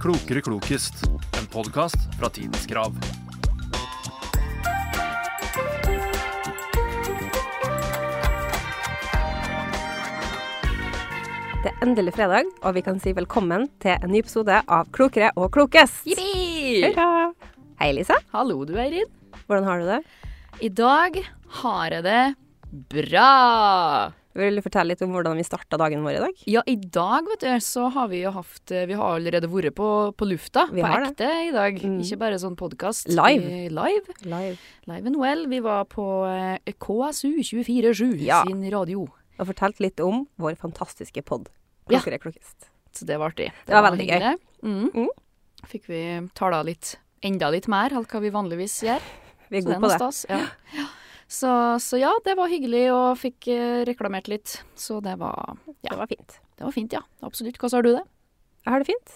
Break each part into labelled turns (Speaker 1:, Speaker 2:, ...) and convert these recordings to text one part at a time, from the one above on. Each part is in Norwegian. Speaker 1: Klokere klokest, en podkast fra Tidens Krav.
Speaker 2: Det er endelig fredag, og vi kan si velkommen til en ny episode av Klokere og klokest.
Speaker 3: Jippi!
Speaker 2: Hurra! Hei, Lisa.
Speaker 3: Hallo du, Eirin.
Speaker 2: Hvordan har du det?
Speaker 3: I dag har jeg det bra.
Speaker 2: Vil du fortelle litt om hvordan vi starta dagen vår i dag?
Speaker 3: Ja, i dag vet du, så har vi jo haft eh, Vi har allerede vært på, på lufta.
Speaker 2: Vi
Speaker 3: på
Speaker 2: har det.
Speaker 3: ekte i dag.
Speaker 2: Mm.
Speaker 3: Ikke bare sånn podkast.
Speaker 2: Live.
Speaker 3: Live
Speaker 2: Live.
Speaker 3: Live and well. Vi var på eh, KSU247
Speaker 2: Ja.
Speaker 3: sin radio.
Speaker 2: Og fortalt litt om vår fantastiske pod.
Speaker 3: Ja.
Speaker 2: Klokere og klokest.
Speaker 3: Så det var artig. Det,
Speaker 2: var veldig gøy.
Speaker 3: hyggelig. Mm.
Speaker 2: Mm.
Speaker 3: Fikk vi tala litt enda litt mer enn hva vi vanligvis gjør.
Speaker 2: Vi er
Speaker 3: Så
Speaker 2: gode
Speaker 3: det er
Speaker 2: på
Speaker 3: noe
Speaker 2: det.
Speaker 3: stas. Ja. Så, så ja, det var hyggelig, og fikk eh, reklamert litt. Så det var, ja.
Speaker 2: Det var fint.
Speaker 3: det var fint, ja. Absolutt. Hvordan har du det?
Speaker 2: Jeg har det fint.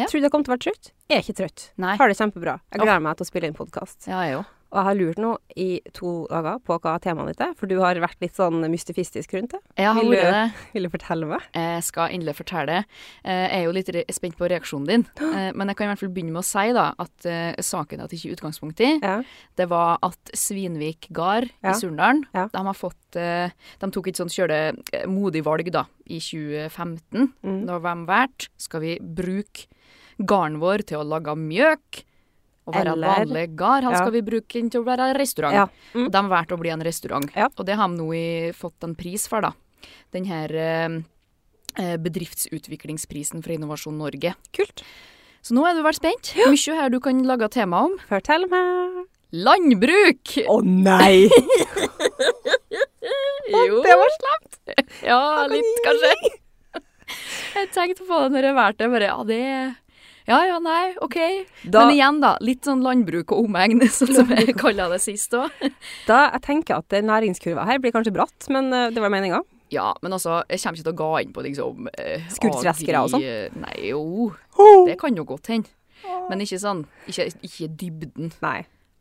Speaker 3: Ja.
Speaker 2: Trodde jeg kom til å være trøtt. Jeg er ikke trøtt.
Speaker 3: Nei.
Speaker 2: Har det kjempebra. Jeg gleder meg til å spille inn podkast.
Speaker 3: Ja, jeg òg.
Speaker 2: Og jeg har lurt nå i to dager på hva temaet ditt er, for du har vært litt sånn mystifistisk rundt det.
Speaker 3: Jeg har
Speaker 2: Vil du-
Speaker 3: vært det.
Speaker 2: Vil du fortelle meg?
Speaker 3: Jeg skal endelig fortelle. Eh, Jeg er jo litt re spent på reaksjonen din, Eh, men jeg kan i hvert fall begynne med å si da, at eh, saken jeg tok utgangspunkt i,
Speaker 2: Ja.
Speaker 3: det var at Svinvik gard
Speaker 2: Ja.
Speaker 3: i Surndalen,
Speaker 2: Ja.
Speaker 3: de har fått eh, De tok et sånt kjøle eh, modig valg, da, i 2015.
Speaker 2: Mm.
Speaker 3: Da var de valgt. Skal vi bruke garden vår til å lage mjøk? Og være
Speaker 2: Eller-
Speaker 3: vanlig gard? Han
Speaker 2: Ja.
Speaker 3: skal vi bruke den til å være restaurant.
Speaker 2: Ja. Mm.
Speaker 3: Og de valgte å bli en restaurant.
Speaker 2: Ja.
Speaker 3: Og det har de nå i- fått en pris for, da. Den her eh, eh, bedriftsutviklingsprisen fra Innovasjon Norge.
Speaker 2: Kult.
Speaker 3: Så nå er du vel spent. Mye her du kan lage tema om.
Speaker 2: Fortell meg.
Speaker 3: Landbruk!
Speaker 2: Å nei!
Speaker 3: Jo.
Speaker 2: det var
Speaker 3: slemt. Ja, litt kanskje. Jeg tenkte på det når jeg valgte det. Bare, ja, det Ja, ja, nei, OK.
Speaker 2: Da-
Speaker 3: Men igjen, da. Litt sånn landbruk og omegn, sånn som jeg kaller det sist òg.
Speaker 2: Da, jeg tenker at den næringskurva her blir kanskje bratt, men eh, det var meninga.
Speaker 3: Ja, men altså, jeg kommer ikke til å gå inn på liksom eh,
Speaker 2: Skuddtreskere og sånn?
Speaker 3: agri- eh, Nei, jo. Det kan jo godt hende. Men ikke sånn ikke, ikke dybden.
Speaker 2: Nei,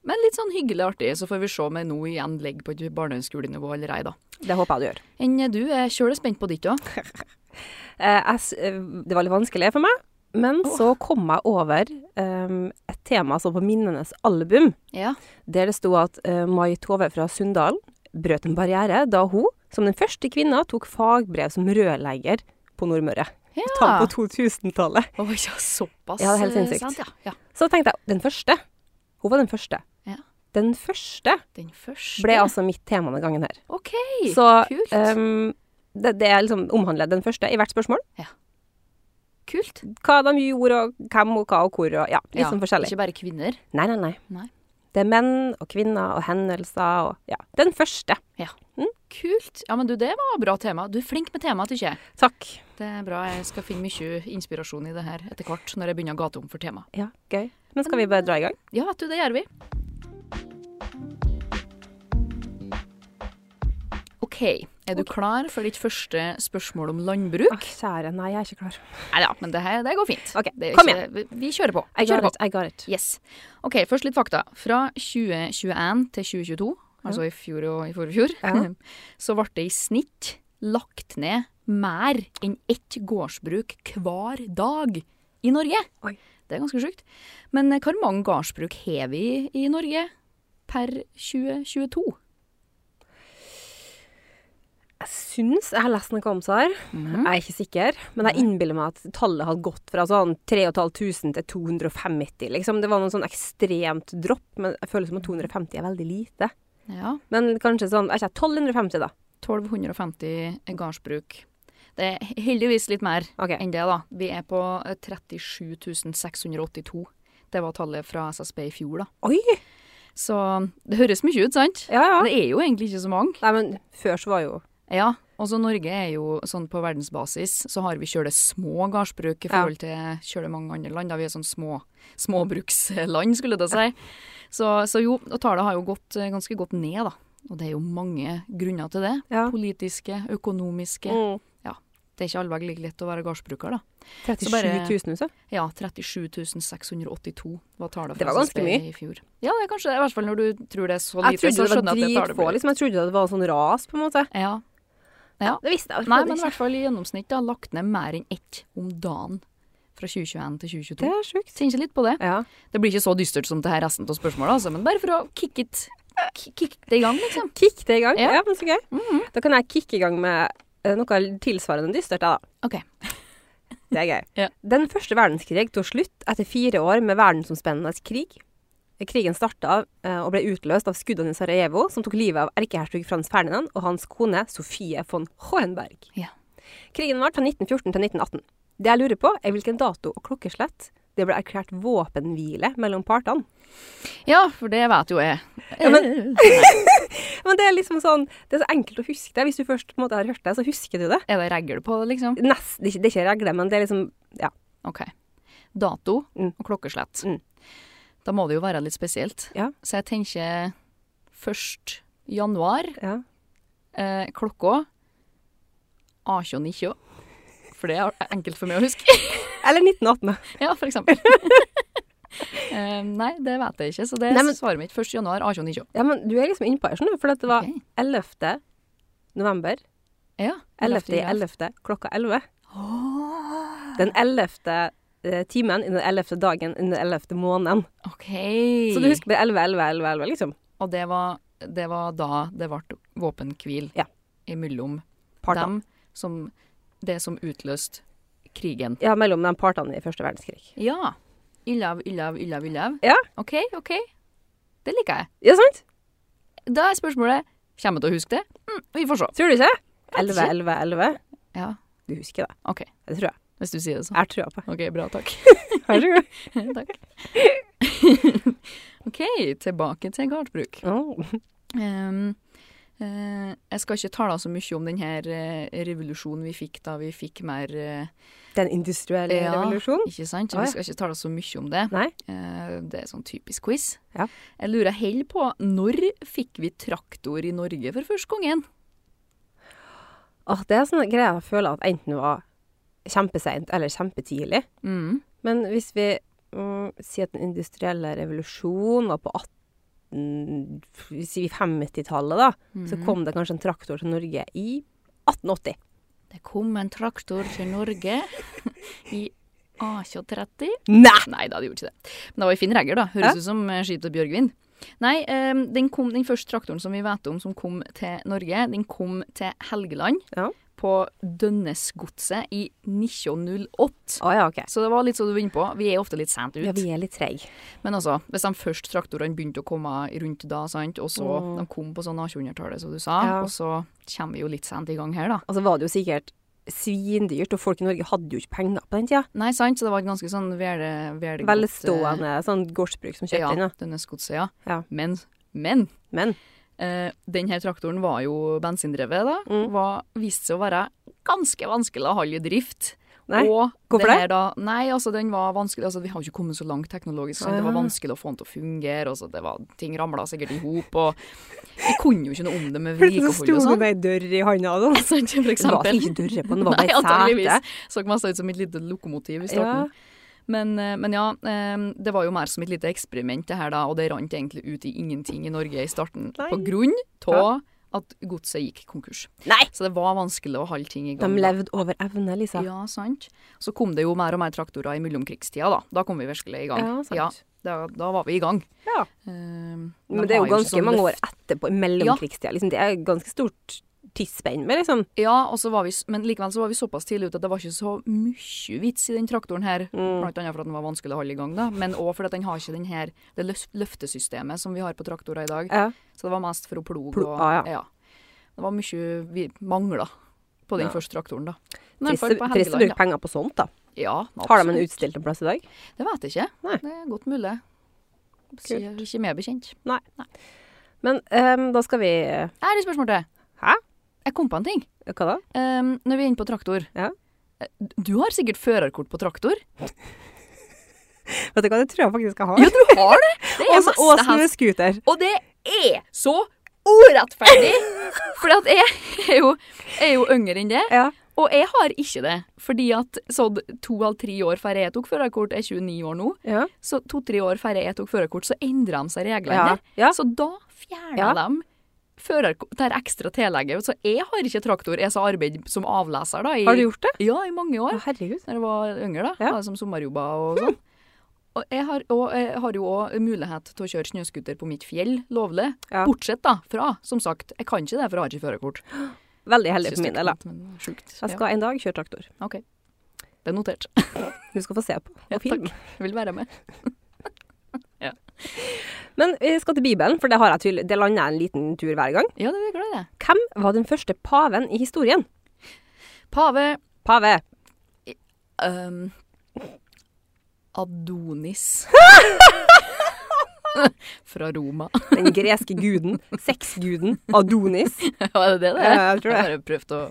Speaker 3: Men litt sånn hyggelig artig. Så får vi se om jeg nå igjen ligger på et barneskolenivå eller ei, da.
Speaker 2: det håper jeg du gjør.
Speaker 3: Enn eh, du er sjøl spent på ditt òg?
Speaker 2: Eh, jeg, s- eh, det var litt vanskelig for meg, men så kom jeg over eh, et tema som på Minnenes album,
Speaker 3: Ja.
Speaker 2: der det sto at eh, Mai Tove fra Sunndalen brøt en barriere da hun, som den første kvinna, tok fagbrev som rørlegger på Nordmøre.
Speaker 3: Ja.
Speaker 2: Tall på 2000-tallet.
Speaker 3: Å ja, såpass.
Speaker 2: Ja, det er helt
Speaker 3: eh,
Speaker 2: sinnssykt.
Speaker 3: Sant, ja. ja.
Speaker 2: Så tenkte jeg den første. Hun var den første.
Speaker 3: Ja.
Speaker 2: Den første
Speaker 3: Den første.
Speaker 2: ble altså mitt tema denne gangen her.
Speaker 3: OK,
Speaker 2: Så
Speaker 3: kult.
Speaker 2: ehm, det, det er liksom omhandler den første i hvert spørsmål.
Speaker 3: kult.
Speaker 2: Hva de gjorde, og hvem og hva og hvor, og ja, litt
Speaker 3: Ja,
Speaker 2: sånn forskjellig.
Speaker 3: Ikke bare kvinner.
Speaker 2: Nei, nei, nei,
Speaker 3: Nei.
Speaker 2: Det er menn og kvinner og hendelser og ja. Den første.
Speaker 3: Mm. Kult. Ja, men du, det var bra tema. Du er flink med tema, tykker jeg.
Speaker 2: Takk.
Speaker 3: Det er bra. Jeg skal finne mye inspirasjon i det her etter hvert, når jeg begynner å gate om for tema.
Speaker 2: Ja, gøy. Men skal vi bare dra i gang?
Speaker 3: Ja, vet du, det gjør vi. OK, er du klar for ditt første spørsmål om landbruk?
Speaker 2: Åh, kjære, nei, jeg er ikke klar.
Speaker 3: Nei da, men det her det går fint.
Speaker 2: Ok,
Speaker 3: det er
Speaker 2: kom
Speaker 3: ikke- Vi, vi kjører på. Vi
Speaker 2: I
Speaker 3: kjører
Speaker 2: got
Speaker 3: på.
Speaker 2: it. I got it.
Speaker 3: Yes. OK, først litt fakta. Fra 2021 til 2022, altså i fjor og i forfjor,
Speaker 2: Ja.
Speaker 3: så ble det i snitt lagt ned mer enn ett gårdsbruk hver dag i Norge.
Speaker 2: Oi.
Speaker 3: Det er ganske sjukt. Men eh, hvor mange gårdsbruk har vi i Norge per 2022?
Speaker 2: Jeg syns jeg har lest noe om seg her.
Speaker 3: Mhm.
Speaker 2: Jeg er ikke sikker. Men jeg innbiller meg at tallet har gått fra sånn 3500 til 250. Liksom. Det var noen sånn ekstremt dropp, men jeg føler som at 250 er veldig lite.
Speaker 3: Ja,
Speaker 2: Men kanskje sånn Er ikke jeg 1250, da?
Speaker 3: 1250 gårdsbruk. Det er heldigvis litt mer
Speaker 2: OK.
Speaker 3: enn det, da. Vi er på eh, 37 682. Det var tallet fra SSB i fjor, da.
Speaker 2: Oi!
Speaker 3: Så det høres mye ut, sant?
Speaker 2: Ja, ja.
Speaker 3: Det er jo egentlig ikke så mange.
Speaker 2: Nei, men før så var jo
Speaker 3: Ja, og så Norge er jo sånn på verdensbasis, så har vi kjøle små gardsbruk i
Speaker 2: Ja.
Speaker 3: forhold til kjøle mange andre land. Da vi er sånn små, småbruksland, skulle jeg da si. Så, så jo, og tallet har jo gått eh, ganske godt ned, da. Og det er jo mange grunner til det.
Speaker 2: Ja.
Speaker 3: Politiske, økonomiske.
Speaker 2: mm,
Speaker 3: Det er ikke allveg like lett å være gardsbruker, da.
Speaker 2: 37
Speaker 3: Så bare-
Speaker 2: 000, så.
Speaker 3: Ja, 37 682 var tallet
Speaker 2: Det
Speaker 3: fra
Speaker 2: var ganske
Speaker 3: SSB
Speaker 2: mye.
Speaker 3: i fjor. Ja, det er kanskje det. I hvert fall når du tror det er så
Speaker 2: Jeg
Speaker 3: lite, så
Speaker 2: trodde det var
Speaker 3: skjønner jeg at det tallet
Speaker 2: dritfå,
Speaker 3: blir
Speaker 2: liksom. Jeg trodde det var sånn ras, på en måte.
Speaker 3: Ja.
Speaker 2: Det visste jeg
Speaker 3: Nei, men i
Speaker 2: overhodet ikke.
Speaker 3: hvert fall i gjennomsnitt da, lagt ned mer enn ett om dagen Fra 2021 til 2022.
Speaker 2: Det er sjukt.
Speaker 3: Tenker litt på det.
Speaker 2: Ja.
Speaker 3: Det blir ikke så dystert som det her resten av spørsmålet, altså, men bare for å kick it ki- Kick det i gang, liksom.
Speaker 2: Kick det i gang.
Speaker 3: Ja. Mm.
Speaker 2: Ja, men så gøy. Da kan jeg kicke i gang med eh, noe tilsvarende dystert, jeg, da.
Speaker 3: OK.
Speaker 2: Det er gøy.
Speaker 3: Ja.
Speaker 2: Den første verdenskrig tok slutt etter fire år med verdensomspennende krig. Krigen starta eh, og ble utløst av skuddene i Sarajevo, som tok livet av erkehertug Frans Ferdinand og hans kone Sofie von Hohenberg.
Speaker 3: Ja.
Speaker 2: Krigen varte fra 1914 til 1918. Det jeg lurer på, er hvilken dato og klokkeslett det ble erklært våpenhvile mellom partene.
Speaker 3: Ja, for det vet jo jeg.
Speaker 2: Ja, men- Men det er liksom sånn, det er så enkelt å huske det. Hvis du først på en måte har hørt det, så husker du det.
Speaker 3: er det regler på det, liksom?
Speaker 2: Nesten, ikke- det er ikke regler, men det er liksom ja,
Speaker 3: OK. Dato
Speaker 2: Mm.
Speaker 3: og klokkeslett.
Speaker 2: Mm.
Speaker 3: Da må det jo være litt spesielt.
Speaker 2: Ja.
Speaker 3: Så jeg tenker først januar,
Speaker 2: ja.
Speaker 3: eh, klokka A29. For det er enkelt for meg å huske.
Speaker 2: Eller 1918, da.
Speaker 3: ja, for eksempel. Eh, nei, det vet jeg ikke, så det
Speaker 2: Nei, men-
Speaker 3: er svaret mitt. 1. januar, A29.
Speaker 2: Ja, men du er liksom innpå her, skjønner du. For at det var
Speaker 3: Ok.
Speaker 2: 11. november.
Speaker 3: Ja.
Speaker 2: 11. i 11. klokka 11. Den 11. eh, timen i den 11. dagen i den 11. måneden.
Speaker 3: OK.
Speaker 2: Så du husker bare 11, 11, 11, 11, liksom.
Speaker 3: Og det var, det var da det ble våpenhvil
Speaker 2: Ja.
Speaker 3: imellom
Speaker 2: Partene.
Speaker 3: dem som Det som utløste krigen.
Speaker 2: Ja, mellom de partene i første verdenskrig.
Speaker 3: Ja. Illev, illev, illev, illev.
Speaker 2: Ja.
Speaker 3: OK, OK. Det liker jeg.
Speaker 2: Ja, sant?
Speaker 3: Da er spørsmålet Kommer jeg til å huske det? Mm, vi får se.
Speaker 2: Tror du ikke? 11,
Speaker 3: ikke.
Speaker 2: 11, 11.
Speaker 3: Ja,
Speaker 2: Du husker det.
Speaker 3: OK.
Speaker 2: Det tror jeg.
Speaker 3: Hvis du sier det, så.
Speaker 2: Jeg har trua på det.
Speaker 3: OK, bra. Takk.
Speaker 2: Vær så god.
Speaker 3: takk. OK, tilbake til gardsbruk.
Speaker 2: Åh.
Speaker 3: Ehm, eh, jeg skal ikke tale så mye om den her eh, revolusjonen vi fikk da vi fikk mer eh,
Speaker 2: Den industrielle
Speaker 3: Ja.
Speaker 2: revolusjonen.
Speaker 3: Ikke sant?
Speaker 2: Å,
Speaker 3: Vi
Speaker 2: ja.
Speaker 3: skal ikke tale så mye om det.
Speaker 2: Nei.
Speaker 3: Eh, Det er sånn typisk quiz.
Speaker 2: Ja.
Speaker 3: Jeg lurer heller på når fikk vi traktor i Norge for første gangen?
Speaker 2: Åh, det er sånne greier jeg føler at enten var kjempeseint eller kjempetidlig.
Speaker 3: Mm.
Speaker 2: Men hvis vi mm, sier at den industrielle revolusjonen var på 18, sier vi 50-tallet, da, så kom det kanskje en traktor til Norge i 1880.
Speaker 3: Det kom en traktor til Norge i A230.
Speaker 2: Nei!
Speaker 3: Nei da, det gjorde ikke det. Men det var ei fin regel, da. Høres ut som eh, skip til Bjørgvin. Nei, eh, den, kom, den første traktoren som vi vet om som kom til Norge, den kom til Helgeland.
Speaker 2: Ja.
Speaker 3: På Dønnesgodset i 1908.
Speaker 2: Å ja, OK.
Speaker 3: Så det var litt som du var inne på, vi er ofte litt sent ut.
Speaker 2: Ja, vi er litt treige.
Speaker 3: Men altså, hvis de først traktorene begynte å komme rundt da, sant, og så
Speaker 2: Mm.
Speaker 3: de kom på sånn 1800-tallet, som du sa,
Speaker 2: Ja.
Speaker 3: og så kommer vi jo litt sent i gang her, da.
Speaker 2: Og så var det jo sikkert svindyrt, og folk i Norge hadde jo ikke penger på den tida.
Speaker 3: Nei, sant, så det var et ganske sånn vele, vele
Speaker 2: Velstående sånn gårdsbruk som kjøpte
Speaker 3: eh, ja,
Speaker 2: den. Ja.
Speaker 3: denne skotse, ja.
Speaker 2: Ja.
Speaker 3: Men, men,
Speaker 2: Men
Speaker 3: eh, den her traktoren var jo bensindrevet da,
Speaker 2: Mm.
Speaker 3: var, viste seg å være ganske vanskelig å holde i drift.
Speaker 2: Nei,
Speaker 3: og
Speaker 2: hvorfor
Speaker 3: her Da, nei, altså den var vanskelig, altså vi har jo ikke kommet så langt teknologisk, sant? det var
Speaker 2: Ah.
Speaker 3: vanskelig å få den til å fungere, altså det var, ting ramla sikkert i hop, og vi kunne jo ikke noe om det med
Speaker 2: plutselig
Speaker 3: vedlikehold
Speaker 2: sto
Speaker 3: og
Speaker 2: du
Speaker 3: sånn.
Speaker 2: med ei dør i handa og sånn.
Speaker 3: Sant, for
Speaker 2: Det var
Speaker 3: eksempel.
Speaker 2: ikke dørre på den, det var
Speaker 3: Nei,
Speaker 2: bare et
Speaker 3: antageligvis.
Speaker 2: sete.
Speaker 3: Så masse ut som et lite lokomotiv i
Speaker 2: Ja.
Speaker 3: starten. Men, eh, men ja, eh, det var jo mer som et lite eksperiment det her da, og det rant egentlig ut i ingenting i Norge i starten.
Speaker 2: Nei.
Speaker 3: På grunn av at godset gikk konkurs.
Speaker 2: Nei!
Speaker 3: Så det var vanskelig å holde ting i
Speaker 2: De
Speaker 3: gang. da.
Speaker 2: levde over evne, Lisa.
Speaker 3: Ja, sant. Så kom det jo mer og mer traktorer i mellomkrigstida, da. Da kom vi virkelig i gang.
Speaker 2: Ja, sant.
Speaker 3: da, da var vi i gang.
Speaker 2: Ja.
Speaker 3: Eh, de
Speaker 2: Men det er
Speaker 3: har
Speaker 2: jo ganske
Speaker 3: sånn
Speaker 2: mange
Speaker 3: løft-
Speaker 2: år etterpå, i mellomkrigstida. Liksom. Det er et ganske stort tidsspenn med, liksom.
Speaker 3: Ja, og så var vi, s- men likevel så var vi såpass tidlig ute at det var ikke så mye vits i den traktoren her.
Speaker 2: mm.
Speaker 3: Blant annet for at den var vanskelig å holde i gang, da. Men òg fordi at den har ikke den her, det løf- løftesystemet som vi har på traktorer i dag.
Speaker 2: Ja.
Speaker 3: Så det var mest for å ploge
Speaker 2: Plo-
Speaker 3: og
Speaker 2: ah,
Speaker 3: Det var mye vi mangla på den
Speaker 2: Ja.
Speaker 3: første traktoren, da. Men i
Speaker 2: Trist
Speaker 3: hvert fall på
Speaker 2: å trist å
Speaker 3: Helgeland,
Speaker 2: bruke penger på sånt, da.
Speaker 3: da. Ja,
Speaker 2: Har de en
Speaker 3: absolutt.
Speaker 2: utstilt en plass i dag?
Speaker 3: Det vet jeg ikke.
Speaker 2: Nei.
Speaker 3: Det er godt mulig. Ikke, ikke mer bekjent.
Speaker 2: Men ehm, da skal vi
Speaker 3: Jeg har et spørsmål til.
Speaker 2: Hæ?
Speaker 3: Jeg kom på en ting.
Speaker 2: Hva da?
Speaker 3: Ehm, når vi er inne på traktor
Speaker 2: Ja.
Speaker 3: Eh, Du har sikkert førerkort på traktor?
Speaker 2: Vet du hva, det tror jeg faktisk jeg har.
Speaker 3: Ja, du har det! Det er
Speaker 2: Også- og
Speaker 3: masse hest.
Speaker 2: snøscooter.
Speaker 3: Og det er så urettferdig! For at jeg er jo, jeg er jo yngre enn det,
Speaker 2: Ja.
Speaker 3: og jeg har ikke det. Fordi at sånn to eller tre år før jeg tok førerkort, jeg er 29 år nå,
Speaker 2: Ja.
Speaker 3: så to-tre år før jeg tok førerkort, så endra de seg reglene
Speaker 2: Ja.
Speaker 3: der.
Speaker 2: Ja.
Speaker 3: Så da fjerna
Speaker 2: Ja.
Speaker 3: de fører det her ekstra tillegget. Så jeg har ikke traktor. Jeg sa arbeid som avleser, da. I,
Speaker 2: Har du gjort det?
Speaker 3: Ja, i mange
Speaker 2: Å,
Speaker 3: år.
Speaker 2: herregud.
Speaker 3: Da jeg var yngre, da.
Speaker 2: Ja.
Speaker 3: da som sommerjobber og sånn. Og jeg har, og jeg har jo òg mulighet til å kjøre snøscooter på mitt fjell, lovlig.
Speaker 2: Ja.
Speaker 3: Bortsett da fra, som sagt, jeg kan ikke det, for jeg har ikke førerkort.
Speaker 2: Veldig heldig for min del, da.
Speaker 3: Men sjukt.
Speaker 2: Jeg skal en dag kjøre traktor.
Speaker 3: Ja, OK. Det er notert.
Speaker 2: Du skal få se på og
Speaker 3: Ja,
Speaker 2: film.
Speaker 3: Jeg vil være med.
Speaker 2: Men vi skal til Bibelen, for det har jeg tydelig. Det lander jeg en liten tur hver gang.
Speaker 3: Ja, det er glad i det.
Speaker 2: Hvem var den første paven i historien?
Speaker 3: Pave
Speaker 2: Pave.
Speaker 3: Ehm, Adonis. Fra Roma.
Speaker 2: Den greske guden. Sexguden. Adonis.
Speaker 3: Var det det det?
Speaker 2: Ja, jeg tror det.
Speaker 3: Jeg bare prøvde å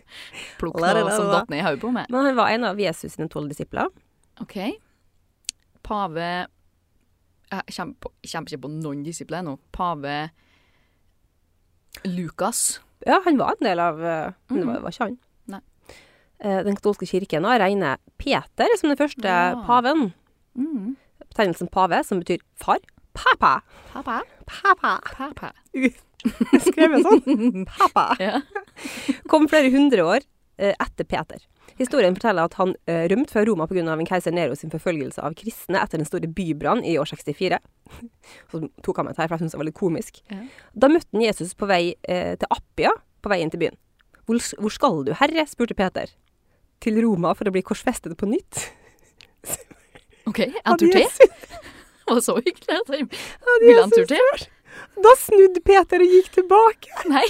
Speaker 3: plukke
Speaker 2: La, la,
Speaker 3: noe
Speaker 2: la,
Speaker 3: som
Speaker 2: la.
Speaker 3: datt ned i hodet på meg.
Speaker 2: Men han var en av Jesus sine tolv disipler.
Speaker 3: OK. Pave Jeg kommer, på, jeg kommer ikke på noen disiplin nå. Pave Lukas.
Speaker 2: Ja, han var en del av eh, Men det var, var ikke han.
Speaker 3: Nei.
Speaker 2: Eh, Den katolske kirken har regnet Peter som den første
Speaker 3: Ja.
Speaker 2: paven.
Speaker 3: Mm.
Speaker 2: Betegnelsen pave, som betyr far. Papa.
Speaker 3: Papa.
Speaker 2: Papa.
Speaker 3: Papa.
Speaker 2: Skrevet sånn. Papa.
Speaker 3: Ja.
Speaker 2: Kom flere hundre år eh, etter Peter. Historien forteller at han eh, rømte fra Roma pga. en keiser Nero sin forfølgelse av kristne etter den store bybrannen i år 64. Så tok han meg til her, for jeg syntes det var litt komisk.
Speaker 3: Ja.
Speaker 2: Da møtte han Jesus på vei eh, til Appia, på vei inn til byen. Hvor, hvor skal du, herre? spurte Peter. Til Roma for å bli korsfestet på nytt.
Speaker 3: OK, en tur til.
Speaker 2: Jesus-
Speaker 3: Det var så hyggelig. at jeg-
Speaker 2: hadde
Speaker 3: Vil han en tur
Speaker 2: Jesus-
Speaker 3: til?
Speaker 2: Da snudde Peter og gikk tilbake,
Speaker 3: Nei.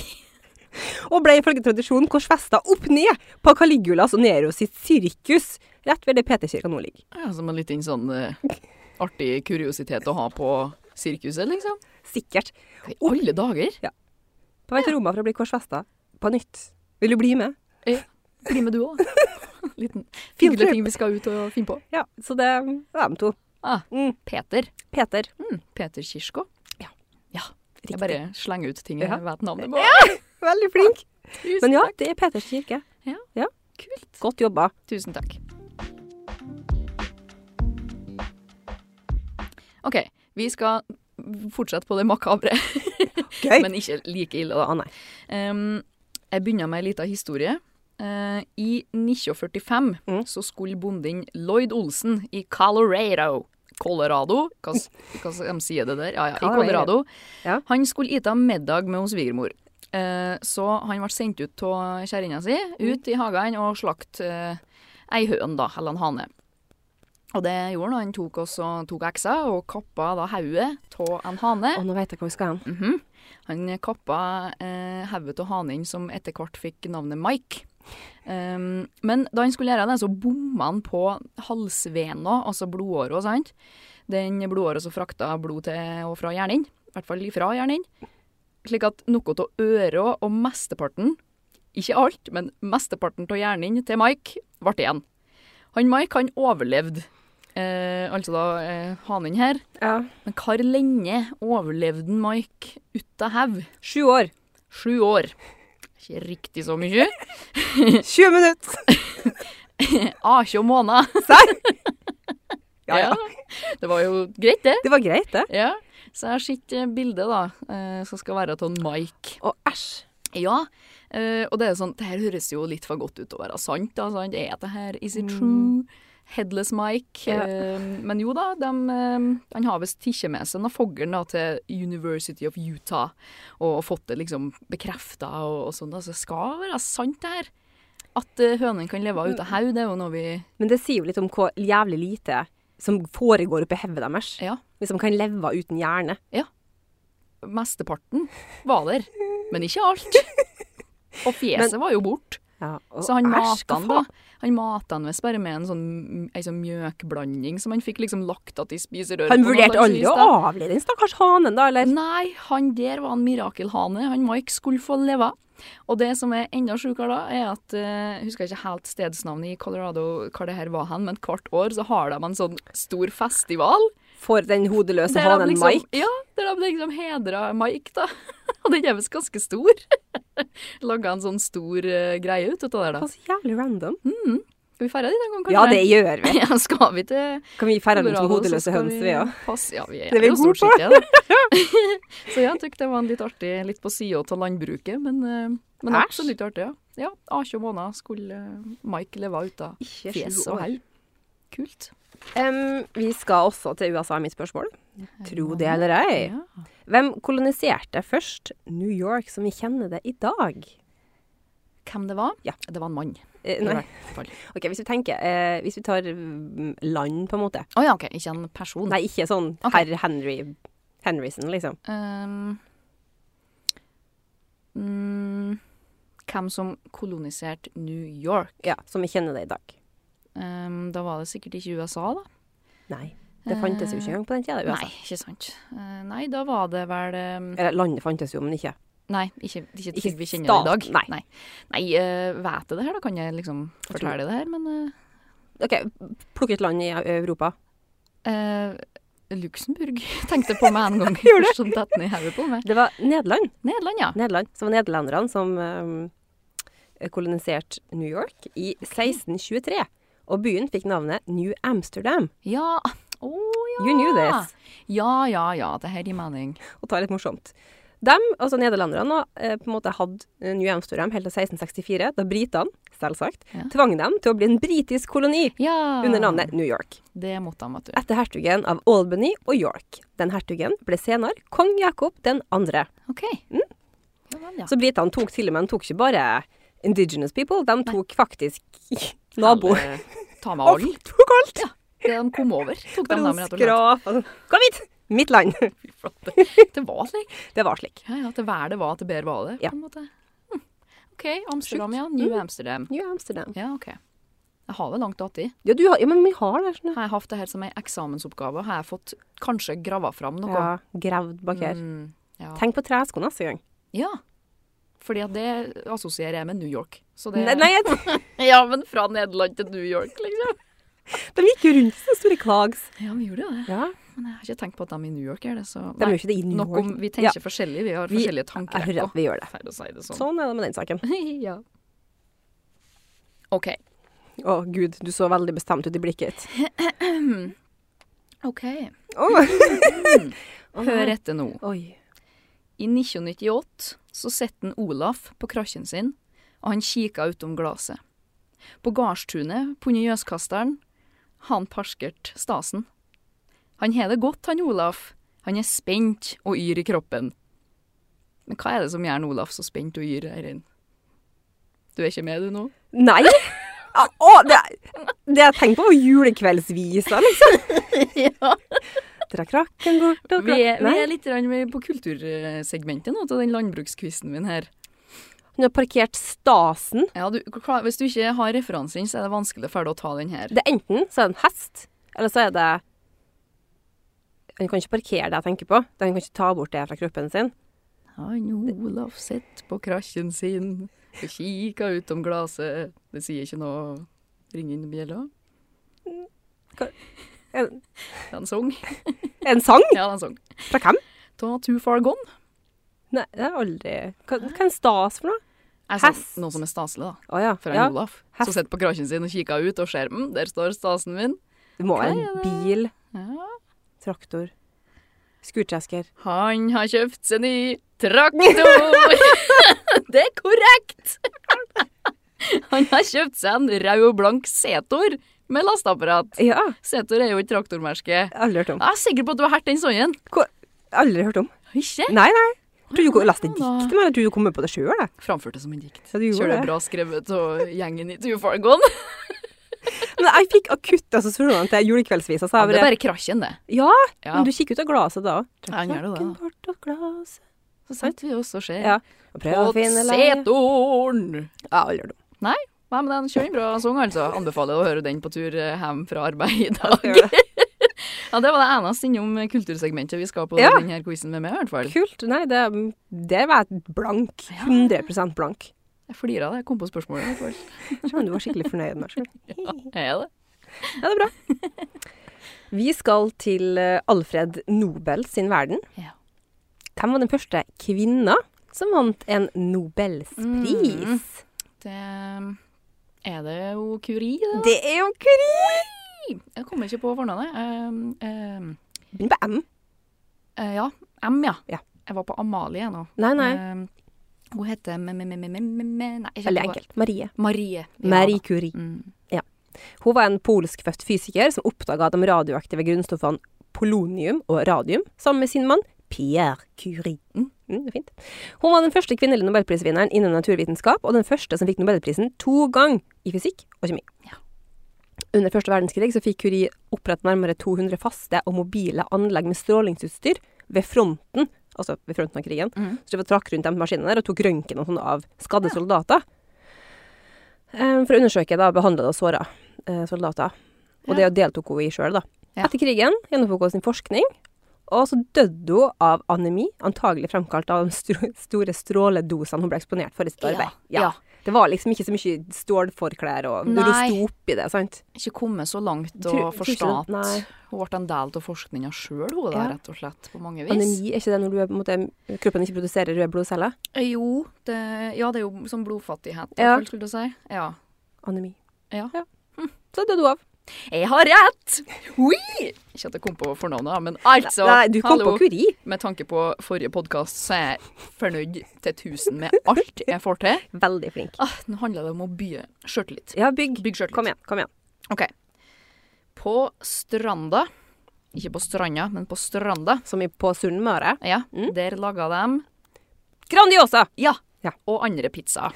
Speaker 2: og ble ifølge tradisjonen korsfesta opp ned på Caligulas og Nero sitt sirkus, rett ved det Peterkirka nå ligger.
Speaker 3: Ja, Som en liten sånn eh, artig kuriositet å ha på sirkuset, liksom.
Speaker 2: Sikkert.
Speaker 3: Hva I alle dager!
Speaker 2: På vei til Roma for å bli korsfesta på nytt. Vil du bli med?
Speaker 3: Bli med du òg. Liten
Speaker 2: Field
Speaker 3: hyggelige
Speaker 2: trip.
Speaker 3: ting vi skal ut og finne på.
Speaker 2: Ja, så det er dem to.
Speaker 3: Ah,
Speaker 2: Mm.
Speaker 3: Peter.
Speaker 2: Peter.
Speaker 3: Mm, Peter Kirsko.
Speaker 2: Ja.
Speaker 3: ja.
Speaker 2: Riktig.
Speaker 3: Jeg bare slenger ut ting jeg
Speaker 2: Ja.
Speaker 3: vet navnet på.
Speaker 2: Veldig flink.
Speaker 3: Tusen
Speaker 2: Men ja,
Speaker 3: takk.
Speaker 2: det er Peters kirke.
Speaker 3: Ja. Kult.
Speaker 2: Godt jobba.
Speaker 3: Tusen takk. OK, vi skal fortsette på det makabre,
Speaker 2: Gøy.
Speaker 3: men ikke like ille, da.
Speaker 2: Å nei.
Speaker 3: Ehm, jeg begynner med ei lita historie. Eh, I 1945
Speaker 2: Mm.
Speaker 3: så skulle bonden Lloyd Olsen i Colorado Colorado? Hva, s- hva s- de sier det der? Ja, ja, i
Speaker 2: Colorado.
Speaker 3: Colorado.
Speaker 2: Ja.
Speaker 3: Han skulle ete middag med hos svigermor. Eh, så han ble sendt ut av kjerringa si,
Speaker 2: Mm.
Speaker 3: ut i hagen og slakte eh, ei høn, da, eller en hane. Og det gjorde han. Han tok, også, tok eksa og kappa da hodet av en hane.
Speaker 2: Å, nå veit jeg hvor vi skal hen.
Speaker 3: Mhm. Han kappa eh, hodet av hanen som etter hvert fikk navnet Mike. Ehm, men da han skulle gjøre det, så bomma han på halsvena, altså blodåra, sant. Den blodåra som frakta blod til og fra hjernen. I hvert fall ifra hjernen. Slik at noe av øra og mesteparten, ikke alt, men mesteparten av hjernen til Mike, ble igjen. Han Mike, han overlevde. Eh, altså da eh, hanen her.
Speaker 2: Ja.
Speaker 3: Men hvor lenge overlevde en Mike ut av hev?
Speaker 2: Sju år.
Speaker 3: Sju år. Ikke riktig så mye.
Speaker 2: 20 minutter.
Speaker 3: Ah, 20 måneder.
Speaker 2: Serr? Ja, ja.
Speaker 3: Det var jo greit, det.
Speaker 2: Det var greit, det.
Speaker 3: Ja. Så jeg har sett eh, bildet da, eh, som skal være av en Mike.
Speaker 2: Å, æsj.
Speaker 3: Ja, eh, og det er sånn, det her høres jo litt for godt ut til å være sant, da, sant? Er det her, is it true? Headless Mike.
Speaker 2: Ja.
Speaker 3: Eh, men jo da, dem, eh, han har visst tikkje med seg noen fogger da, til University of Utah, og fått det liksom bekreftet og, og sånn. Da. Så det skal være sant det her. At eh, hønen kan leve ut av haug, det er jo noe vi...
Speaker 2: Men det sier jo litt om hvor jævlig lite som foregår oppi hodet deres.
Speaker 3: Ja,
Speaker 2: Hvis de kan leve uten hjerne.
Speaker 3: mesteparten var der, men ikke alt. Og fjeset var jo bort.
Speaker 2: Ja. Å,
Speaker 3: Så han
Speaker 2: æsj,
Speaker 3: matet
Speaker 2: hva
Speaker 3: han da.
Speaker 2: faen?
Speaker 3: Han matet han visst bare med en sånn, ei sånn mjøkblanding som han fikk liksom lagt at i spiserøret.
Speaker 2: Han
Speaker 3: på noe
Speaker 2: vurderte
Speaker 3: slags
Speaker 2: aldri
Speaker 3: vis,
Speaker 2: å
Speaker 3: da. Mm.
Speaker 2: avlive den stakkars hanen, da, eller?
Speaker 3: Nei, han der var en mirakelhane. Han Mike skulle få leve. Og det som er enda sjukere da, er at eh, Jeg husker ikke helt stedsnavnet i Colorado hva det her var hen, men hvert år så har de en sånn stor festival.
Speaker 2: For den hodeløse
Speaker 3: der de
Speaker 2: hanen
Speaker 3: liksom,
Speaker 2: Mike.
Speaker 3: Ja, der de liksom hedra Mike, da. Og den er visst ganske stor. Laga en sånn stor eh, greie ut av det der,
Speaker 2: Det
Speaker 3: da.
Speaker 2: var så jævlig random.
Speaker 3: Skal vi feire det i dag, kanskje?
Speaker 2: Ja, det gjør vi.
Speaker 3: Ja, skal vi til
Speaker 2: Kan vi feire den som
Speaker 3: Colorado, så
Speaker 2: hodeløse
Speaker 3: skal
Speaker 2: høns,
Speaker 3: vi
Speaker 2: vi òg?
Speaker 3: passe- Ja, vi er,
Speaker 2: Det er vi
Speaker 3: jo
Speaker 2: gode
Speaker 3: stort sett det. så ja, jeg tykk det var en litt artig, litt på sida av landbruket, men, eh, men
Speaker 2: Æsj.
Speaker 3: absolutt artig, ja. Ja, 18 måneder skulle eh, Mike leve ut av
Speaker 2: Ikke
Speaker 3: fjes og hell. Kult.
Speaker 2: Em, vi skal også til USA, mitt spørsmål. Tro det eller ei.
Speaker 3: Ja.
Speaker 2: Hvem koloniserte først New York som vi kjenner det i dag?
Speaker 3: Hvem det var?
Speaker 2: Ja.
Speaker 3: Det var en mann.
Speaker 2: Eh,
Speaker 3: i
Speaker 2: nei,
Speaker 3: hvert fall.
Speaker 2: ok, hvis vi tenker eh, Hvis vi tar mm, land, på en måte.
Speaker 3: Å ja, OK. Ikke en person.
Speaker 2: Nei, ikke sånn
Speaker 3: Ok.
Speaker 2: herr Henry Henryson, liksom.
Speaker 3: Ehm, mm, hvem som koloniserte New York?
Speaker 2: Ja, Som vi kjenner det i dag.
Speaker 3: Ehm, da var det sikkert ikke USA, da.
Speaker 2: Nei. Det fantes jo ikke engang på den tida. USA.
Speaker 3: Nei, ikke sant. Eh, nei, da var det vel ehm,
Speaker 2: Eller landet fantes jo, men ikke
Speaker 3: Nei, ikke, ikke,
Speaker 2: Ikke
Speaker 3: til vi kjenner det i dag.
Speaker 2: staten, nei.
Speaker 3: nei. Nei, eh, vet jeg det her, da? Kan jeg liksom
Speaker 2: tror-
Speaker 3: fortelle det her? Men
Speaker 2: OK, plukk et land i Europa.
Speaker 3: eh, eh, Luxembourg tenkte jeg på meg en gang.
Speaker 2: Gjorde du?
Speaker 3: Som datt ned i hodet på meg.
Speaker 2: Det var Nederland.
Speaker 3: Nederland, ja.
Speaker 2: Nederland. Så det var nederlenderne som eh, koloniserte New York i 1623. Og byen fikk navnet New Amsterdam.
Speaker 3: Ja. Å ja.
Speaker 2: You knew
Speaker 3: Ah.
Speaker 2: this.
Speaker 3: Ja, ja, ja. Det her gir mening.
Speaker 2: og ta litt morsomt. De, altså nederlenderne, eh, på en måte hadde eh, New Amsterdam helt til 1664, da britene, selvsagt,
Speaker 3: Ja.
Speaker 2: tvang dem til å bli en britisk koloni
Speaker 3: Ja.
Speaker 2: under navnet New York,
Speaker 3: Det måtte han, vet du.
Speaker 2: etter hertugen av Albany og York. Den hertugen ble senere kong Jakob den andre.
Speaker 3: OK.
Speaker 2: Mm.
Speaker 3: Ja, vel, ja.
Speaker 2: Så britene tok til og med de tok ikke bare indigenous people, de tok faktisk naboer.
Speaker 3: Alle- Ta med
Speaker 2: Og
Speaker 3: alle.
Speaker 2: tok alt!
Speaker 3: Det de kom over, tok de
Speaker 2: Bare
Speaker 3: dem
Speaker 2: sånn
Speaker 3: rett og slett.
Speaker 2: skrap. og sånn, Kom hit! Mitt land!
Speaker 3: Det var slik.
Speaker 2: Det var slik.
Speaker 3: Ja, ja, til været var, til bedre var det,
Speaker 2: Ja. Mm.
Speaker 3: på en måte. Hm. OK, Amsterdam, ja. New Amsterdam.
Speaker 2: New Amsterdam.
Speaker 3: Ja, OK. Jeg har det langt att i.
Speaker 2: Ja, du har, ja men vi har det. Sånn.
Speaker 3: Har jeg hatt det her som ei eksamensoppgave, har jeg fått kanskje grava fram noe.
Speaker 2: Ja, gravd bak her.
Speaker 3: Mm, ja.
Speaker 2: Tenk på tresko neste gang.
Speaker 3: ja. Fordi at det assosierer jeg med New York. Så det
Speaker 2: Nei, nei jeg-
Speaker 3: Ja, men fra Nederland til New York, liksom.
Speaker 2: de gikk jo rundt som store klags.
Speaker 3: Ja, vi gjorde jo det.
Speaker 2: Ja,
Speaker 3: Men jeg har ikke tenkt på at de i New York er det, så
Speaker 2: de gjør ikke det i New
Speaker 3: Nok
Speaker 2: York.
Speaker 3: om vi
Speaker 2: Ja,
Speaker 3: tenker forskjellig, vi har
Speaker 2: Vi-
Speaker 3: forskjellige
Speaker 2: jeg
Speaker 3: tanker.
Speaker 2: hører at vi gjør det.
Speaker 3: Feil å si det sånn.
Speaker 2: Sånn er det med den saken.
Speaker 3: ja. OK.
Speaker 2: Å gud, du så veldig bestemt ut i blikket ditt.
Speaker 3: OK.
Speaker 2: Å. Å, nei.
Speaker 3: Hør etter nå.
Speaker 2: Oi.
Speaker 3: I 1998 så sitter en Olaf på krakken sin, og han kikker utom glasset. På gardstunet på under Jøskasteren har han parskert stasen. Han har det godt, han Olaf. Han er spent og yr i kroppen. Men hva er det som gjør han Olaf så spent og yr, Eirin? Du er ikke med, du nå?
Speaker 2: Nei! Ja, Å, det, det jeg tenkte på var julekveldsvisa, liksom.
Speaker 3: ja.
Speaker 2: Dra krakken bort og
Speaker 3: Vi er, vi
Speaker 2: Nei,
Speaker 3: er litt grann med på kultursegmentet nå, til den landbrukskvisten min her.
Speaker 2: han har parkert stasen.
Speaker 3: Ja, du, klar, hvis du ikke har referansen, så er det vanskelig for deg å ta den her.
Speaker 2: Det er enten så er det en hest, eller så er det Han kan ikke parkere det jeg tenker på. Han kan ikke ta bort det fra kroppen sin.
Speaker 3: Han Olaf sitter på krasjen sin og kikker utom glasset. Det sier ikke noe. Ring inn bjella.
Speaker 2: Er
Speaker 3: Det er en sang.
Speaker 2: er det en sang?
Speaker 3: Ja, det er en sang.
Speaker 2: Fra hvem?
Speaker 3: Ta Too Far Gone.
Speaker 2: Nei, det har jeg aldri Hva, hva er en stas for noe?
Speaker 3: Er sånn,
Speaker 2: Hest.
Speaker 3: noe som er staselig, da.
Speaker 2: Å ja.
Speaker 3: For han
Speaker 2: ja.
Speaker 3: Olaf.
Speaker 2: Hest.
Speaker 3: Som sitter på krasjen sin og kikker ut og ser mm, der står stasen min.
Speaker 2: Det må være
Speaker 3: Hva
Speaker 2: en
Speaker 3: er det?
Speaker 2: bil,
Speaker 3: Ja.
Speaker 2: traktor, skurtresker.
Speaker 3: Han har kjøpt seg ny traktor! det er korrekt! Han har kjøpt seg en rød og blank Setor med lasteapparat.
Speaker 2: Ja,
Speaker 3: Setor er jo et traktormerke.
Speaker 2: aldri hørt om.
Speaker 3: Jeg er sikker på at du har hørt den sangen.
Speaker 2: Hvor, aldri hørt om.
Speaker 3: Ikke?
Speaker 2: Nei, nei. Jeg tror du
Speaker 3: Nei,
Speaker 2: leste
Speaker 3: da.
Speaker 2: diktet, men jeg tror du kom på det sjøl, jeg.
Speaker 3: Framført det som en dikt.
Speaker 2: Ja, du gjorde
Speaker 3: Kjør det
Speaker 2: det.
Speaker 3: bra skrevet av gjengen i Tufargon.
Speaker 2: Men jeg fikk akutt altså, assosiasjoner til julekveldsvisa, så
Speaker 3: Ja,
Speaker 2: jeg
Speaker 3: det er
Speaker 2: bare
Speaker 3: bare krasjen, det.
Speaker 2: Ja,
Speaker 3: Ja.
Speaker 2: men du kikker ut av glasset da.
Speaker 3: Ja, han gjør det, da.
Speaker 2: Trakk bort av glasset.
Speaker 3: Så sant vi også ser.
Speaker 2: Ja. Og prøv å
Speaker 3: På
Speaker 2: finne leie.
Speaker 3: setoren!
Speaker 2: Ja, aldri hørt om.
Speaker 3: Nei, men det er en kjøring bra sang, altså. Anbefaler å høre den på tur eh, hjem fra arbeid i dag.
Speaker 2: Jeg gjør det.
Speaker 3: Ja, det var det eneste innom eh, kultursegmentet vi skal på
Speaker 2: Ja.
Speaker 3: denne quizen med meg, i hvert fall.
Speaker 2: Kult. Nei, det, det var jeg blank. 100 blank.
Speaker 3: Jeg flirer av det. Jeg kom på spørsmålet, i hvert fall.
Speaker 2: Skjønner du var skikkelig fornøyd med deg sjøl.
Speaker 3: Er jeg det?
Speaker 2: Ja, det er bra. Vi skal til eh, Alfred Nobel sin verden.
Speaker 3: Ja.
Speaker 2: Hvem var den første Mm. kvinna som vant en Nobelspris?
Speaker 3: Det eh, er det jo Curie, det?
Speaker 2: Det er jo Curie!
Speaker 3: Jeg kommer ikke på fornavnet. Ehm, ehm,
Speaker 2: Begynner på M.
Speaker 3: eh, ja, M, ja.
Speaker 2: Ja.
Speaker 3: Jeg var på Amalie jeg, nå.
Speaker 2: Nei, nei.
Speaker 3: Ehm, hun heter me, me, me, me, me, me, me- Nei, jeg kjenner
Speaker 2: Veldig
Speaker 3: ikke på-
Speaker 2: enkelt. Marie.
Speaker 3: Marie. Ja,
Speaker 2: Marie
Speaker 3: da.
Speaker 2: Curie.
Speaker 3: Mm.
Speaker 2: Hun var en polskfødt fysiker som oppdaga de radioaktive grunnstoffene polonium og radium sammen med sin mann Pierre Curie. Mm, det er fint. Hun var den første kvinnelige nobelprisvinneren innen naturvitenskap, og den første som fikk nobelprisen to ganger i fysikk og kjemi. Under første verdenskrig så fikk Curie opprettet nærmere 200 faste og mobile anlegg med strålingsutstyr ved fronten, altså ved fronten av krigen.
Speaker 3: Mhm.
Speaker 2: Så de trakk rundt de maskinene der og tok røntgen og sånn av skadde soldater. eh, For å undersøke da behandlede og såra eh, soldater. Og det deltok hun i sjøl, da.
Speaker 3: Ja.
Speaker 2: Etter krigen gjennomtok hun sin forskning, og så døde hun av anemi, antagelig fremkalt av de stro- store stråledosene hun ble eksponert for i sitt
Speaker 3: Ja,
Speaker 2: arbeid.
Speaker 3: ja.
Speaker 2: Det var liksom ikke så mye stålforklær og
Speaker 3: Nei.
Speaker 2: rosto oppi det, sant?
Speaker 3: Ikke kommet så langt
Speaker 2: Tror- tror
Speaker 3: og
Speaker 2: ikke
Speaker 3: forstått.
Speaker 2: det- nei.
Speaker 3: Hun ble en del av forskninga sjøl, hun
Speaker 2: Ja.
Speaker 3: da, rett og slett, på mange vis.
Speaker 2: Anemi, er ikke det når du er, på en måte, kroppen ikke produserer røde blodceller?
Speaker 3: Eh, Jo, det, ja, det er jo sånn blodfattighet,
Speaker 2: Ja.
Speaker 3: ja. skulle du si. Ja.
Speaker 2: Anemi. Hm.
Speaker 3: Ja.
Speaker 2: Så døde hun av.
Speaker 3: Jeg har rett! Hui! Ikke at jeg kom på fornavnet, da, men altså,
Speaker 2: Nei, du kom
Speaker 3: hallo.
Speaker 2: på Curie.
Speaker 3: Med tanke på forrige podkast, så er jeg fornøyd til tusen med alt jeg får til.
Speaker 2: Veldig flink.
Speaker 3: Ah, nå handler det om å bygge sjøltillit.
Speaker 2: Ja, bygg.
Speaker 3: Bygg sjøltillit.
Speaker 2: Kom igjen, kom igjen.
Speaker 3: OK. På stranda Ikke på stranda, men på stranda.
Speaker 2: Som i på Sunnmøre.
Speaker 3: Ja,
Speaker 2: Mm.
Speaker 3: der laga de
Speaker 2: Grandiosa!
Speaker 3: Ja.
Speaker 2: Ja.
Speaker 3: Og andre pizzaer.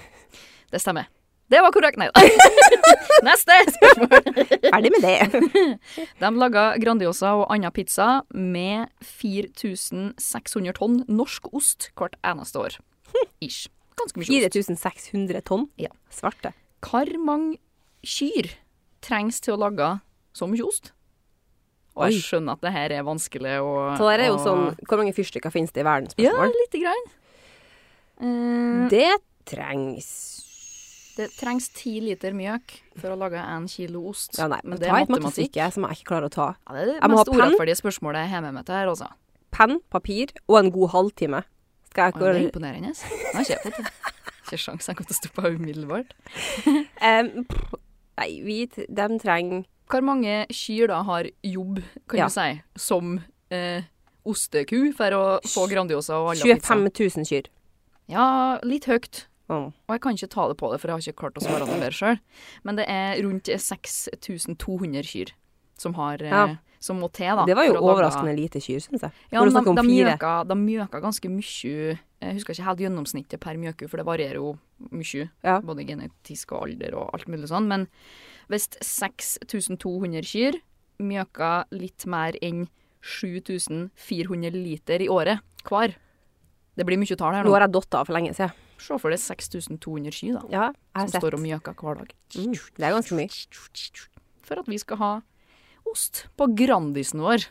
Speaker 3: Det stemmer. Det var korrekt. Nei da. Neste spørsmål.
Speaker 2: Ferdig med det.
Speaker 3: De laga Grandiosa og annen pizza med 4600 tonn norsk ost hvert eneste år. Ish. Ganske mye ost.
Speaker 2: 4600 tonn
Speaker 3: Ja.
Speaker 2: svarte.
Speaker 3: Hvor mange kyr trengs til å lage så mye ost? Og
Speaker 2: Oi.
Speaker 3: jeg skjønner at det her er vanskelig å
Speaker 2: Så det er jo
Speaker 3: å-
Speaker 2: sånn Hvor mange fyrstikker finnes det i verden?
Speaker 3: Ja,
Speaker 2: Spørsmål.
Speaker 3: lite grann. Eh,
Speaker 2: Det trengs
Speaker 3: det trengs ti liter mjøk for å lage en kilo ost.
Speaker 2: ja, nei,
Speaker 3: Men det
Speaker 2: Ta
Speaker 3: er
Speaker 2: et
Speaker 3: matematikk.
Speaker 2: mattestykke som jeg ikke klarer å ta.
Speaker 3: Ja, det er
Speaker 2: Jeg
Speaker 3: det
Speaker 2: må ha
Speaker 3: mest
Speaker 2: penn.
Speaker 3: urettferdige spørsmålet jeg har med meg til her, altså.
Speaker 2: Penn, papir og en god halvtime. Skal jeg
Speaker 3: Oi, Det er
Speaker 2: ikke
Speaker 3: imponerende. Nå har ikke jeg fått det. Ikke sjans jeg kommer til å stoppe umiddelbart.
Speaker 2: Em, pff, Nei, vi t- De trenger
Speaker 3: Hvor mange kyr da har jobb, kan
Speaker 2: Ja.
Speaker 3: du si, som eh, osteku for å få Grandiosa og alle
Speaker 2: 25 000 kyr.
Speaker 3: Ja, litt høyt.
Speaker 2: Åh.
Speaker 3: Og jeg kan ikke ta det på det, for jeg har ikke klart å svare noe mer sjøl. Men det er rundt 6200 kyr som, har, eh,
Speaker 2: Ja.
Speaker 3: som må til. da.
Speaker 2: Det var jo
Speaker 3: for å lage-
Speaker 2: overraskende lite kyr, syns jeg.
Speaker 3: Ja,
Speaker 2: Når du
Speaker 3: men de,
Speaker 2: snakker om
Speaker 3: de,
Speaker 2: fire.
Speaker 3: mjøka, de mjøka ganske mye. eh, Jeg husker ikke helt gjennomsnittet per mjøku, for det varierer jo mye.
Speaker 2: Ja.
Speaker 3: Både genetisk og alder og alt mulig sånn. Men hvis 6200 kyr mjøka litt mer enn 7400 liter i året hver Det blir mye tall her
Speaker 2: Nå
Speaker 3: nå.
Speaker 2: har jeg datt av for lenge siden.
Speaker 3: Se for deg 6200 kyr, da.
Speaker 2: Ja, jeg har
Speaker 3: Som
Speaker 2: sett.
Speaker 3: står og mjøker hver dag.
Speaker 2: Mm, det er ganske mye.
Speaker 3: For at vi skal ha ost på Grandisen vår.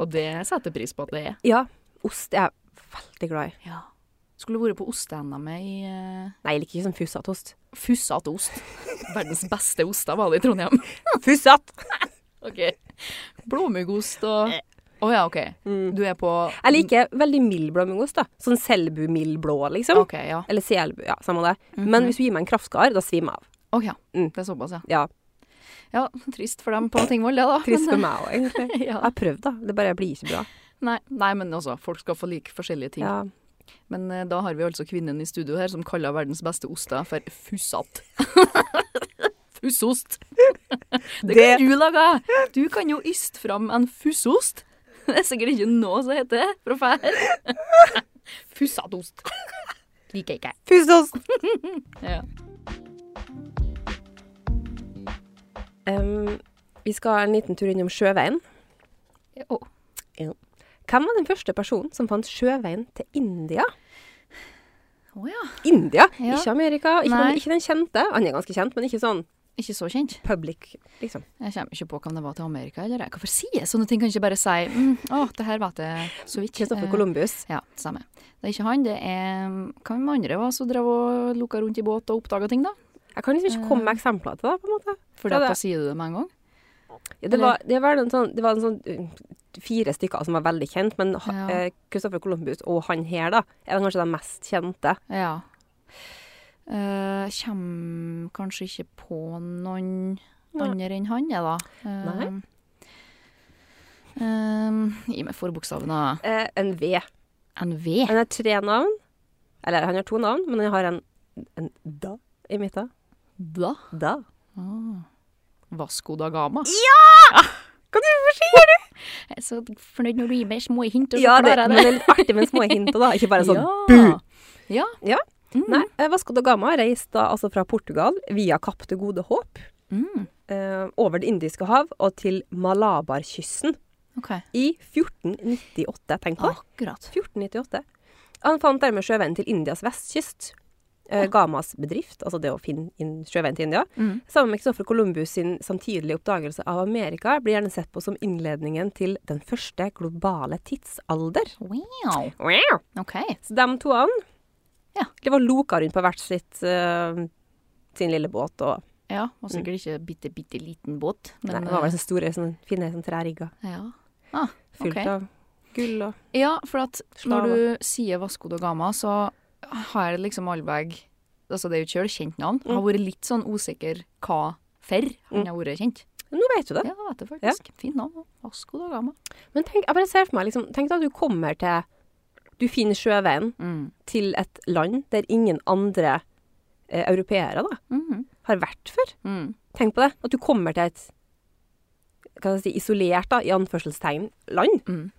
Speaker 3: Og det setter pris på at det er.
Speaker 2: Ja, ost er jeg veldig glad i.
Speaker 3: Ja. Skulle vært på ostehendene i uh,
Speaker 2: Nei, jeg liker ikke sånn fussete ost.
Speaker 3: Fussete ost. Verdens beste oster var det i Trondheim.
Speaker 2: Fussete!
Speaker 3: ok. Blåmuggost og
Speaker 2: Eh.
Speaker 3: Å ja, OK.
Speaker 2: Mm.
Speaker 3: Du er på
Speaker 2: Jeg liker veldig mild blåmuggost, da. Sånn Selbu-mildblå, liksom.
Speaker 3: OK, Mhm. ja.
Speaker 2: Eller Selbu, ja, samme det. Men hvis du gir meg en kraftkar, da svimer jeg av.
Speaker 3: Ok, ja.
Speaker 2: Mm.
Speaker 3: Det er såpass, ja.
Speaker 2: Ja,
Speaker 3: Ja, Trist for dem på Tingvoll, det, da.
Speaker 2: Trist for meg òg, egentlig.
Speaker 3: Men,
Speaker 2: Jeg
Speaker 3: ja.
Speaker 2: har prøvd, da. Det bare blir ikke bra.
Speaker 3: nei, nei, men altså, folk skal få like forskjellige ting.
Speaker 2: Ja.
Speaker 3: Men eh, da har vi altså kvinnen i studio her som kaller verdens beste oster for fussat. Fussost. Det kan du lage! Du kan jo yste fram en fussost. Det er sikkert ikke noe som heter det fra før. Fussatost. Liker jeg ikke.
Speaker 2: Fussost!
Speaker 3: Ja.
Speaker 2: Em, vi skal en liten tur innom sjøveien.
Speaker 3: Å,
Speaker 2: Hvem var den første personen som fant sjøveien til India?
Speaker 3: Å ja.
Speaker 2: India,
Speaker 3: Ja.
Speaker 2: ikke Amerika. Ikke
Speaker 3: Nei.
Speaker 2: den, ikke den kjente. Han er ganske kjent, men ikke sånn
Speaker 3: Ikke så kjent.
Speaker 2: public, liksom.
Speaker 3: Jeg kommer ikke på hvem det var til Amerika. eller jeg. Hvorfor sier jeg sånne ting? Kan jeg ikke bare si mm, 'Å, det her vet jeg så vidt'.
Speaker 2: Kristoffer
Speaker 3: Eh,
Speaker 2: Columbus.
Speaker 3: Ja, samme. Det er ikke han, det er mm, Hva med andre var som drev og lukka rundt i båt og oppdaga ting, da?
Speaker 2: Jeg kan liksom ikke
Speaker 3: Eh.
Speaker 2: komme med eksempler til det, på en måte.
Speaker 3: For
Speaker 2: Ja,
Speaker 3: da
Speaker 2: det-
Speaker 3: sier du det med en gang?
Speaker 2: Ja, det, var, det, var en sånn, det var en sånn uh, fire stykker som var veldig kjent, men
Speaker 3: Ja.
Speaker 2: Kristoffer Columbus og han her, da, er kanskje de mest kjente.
Speaker 3: Ja. Eh, kjem, jo kanskje ikke på noen andre enn han, jeg, da.
Speaker 2: Nei.
Speaker 3: Ehm, ehm, gi meg forbokstaven, da.
Speaker 2: Eh, en V.
Speaker 3: NV.
Speaker 2: Han har tre navn. Eller han har to navn, men han har en, en da i midten.
Speaker 3: Da.
Speaker 2: Da.
Speaker 3: Ah. Vasco da Gama.
Speaker 2: Kan du
Speaker 3: Jeg er så fornøyd når du gir meg små hint, og så
Speaker 2: Ja, det,
Speaker 3: klarer
Speaker 2: men
Speaker 3: jeg det.
Speaker 2: det er litt artig med små hint, da. Ikke bare sånn.
Speaker 3: ja. ja.
Speaker 2: Ja.
Speaker 3: Mm.
Speaker 2: Nei, eh, Vasco da Gama reiste da altså fra Portugal via Kapp til Gode Håp,
Speaker 3: Mm.
Speaker 2: eh, over Det indiske hav og til Malabarkysten
Speaker 3: OK.
Speaker 2: i 1498. Tenk på det.
Speaker 3: Akkurat.
Speaker 2: 1498. Han fant dermed sjøveien til Indias vestkyst. eh, Gamas bedrift, altså det å finne inn sjøveien til India,
Speaker 3: Mm.
Speaker 2: sammen med Christopher Columbus sin samtidige oppdagelse av Amerika, blir gjerne sett på som innledningen til den første globale tidsalder.
Speaker 3: Wow.
Speaker 2: Wow.
Speaker 3: OK.
Speaker 2: Så de toene
Speaker 3: Ja.
Speaker 2: Det var loka rundt på hvert sitt eh, sin lille båt. Og,
Speaker 3: Ja, og sikkert ikke bitte, bitte liten båt, men
Speaker 2: Mm. nei, det var vel så store, sånn, fine sånn, trerigger
Speaker 3: eh, ja. Ah,
Speaker 2: fullt
Speaker 3: ok.
Speaker 2: av gull og
Speaker 3: Ja, for at
Speaker 2: Slaver.
Speaker 3: når du sier Vasco da Gama, så har jeg liksom allveg Altså, det er jo et kjølig kjent navn. Har
Speaker 2: Mm.
Speaker 3: vært litt sånn usikker hva for han har vært kjent.
Speaker 2: Nå vet du det.
Speaker 3: Ja, vet du faktisk. Fint navn. Vasco da Gama.
Speaker 2: Men tenk, jeg bare ser for meg liksom, Tenk da du kommer til Du finner sjøveien
Speaker 3: Mm.
Speaker 2: til et land der ingen andre eh, europeere da,
Speaker 3: Mhm.
Speaker 2: har vært før.
Speaker 3: Mm.
Speaker 2: Tenk på det. At du kommer til et hva skal jeg si, isolert, da, i anførselstegn, land.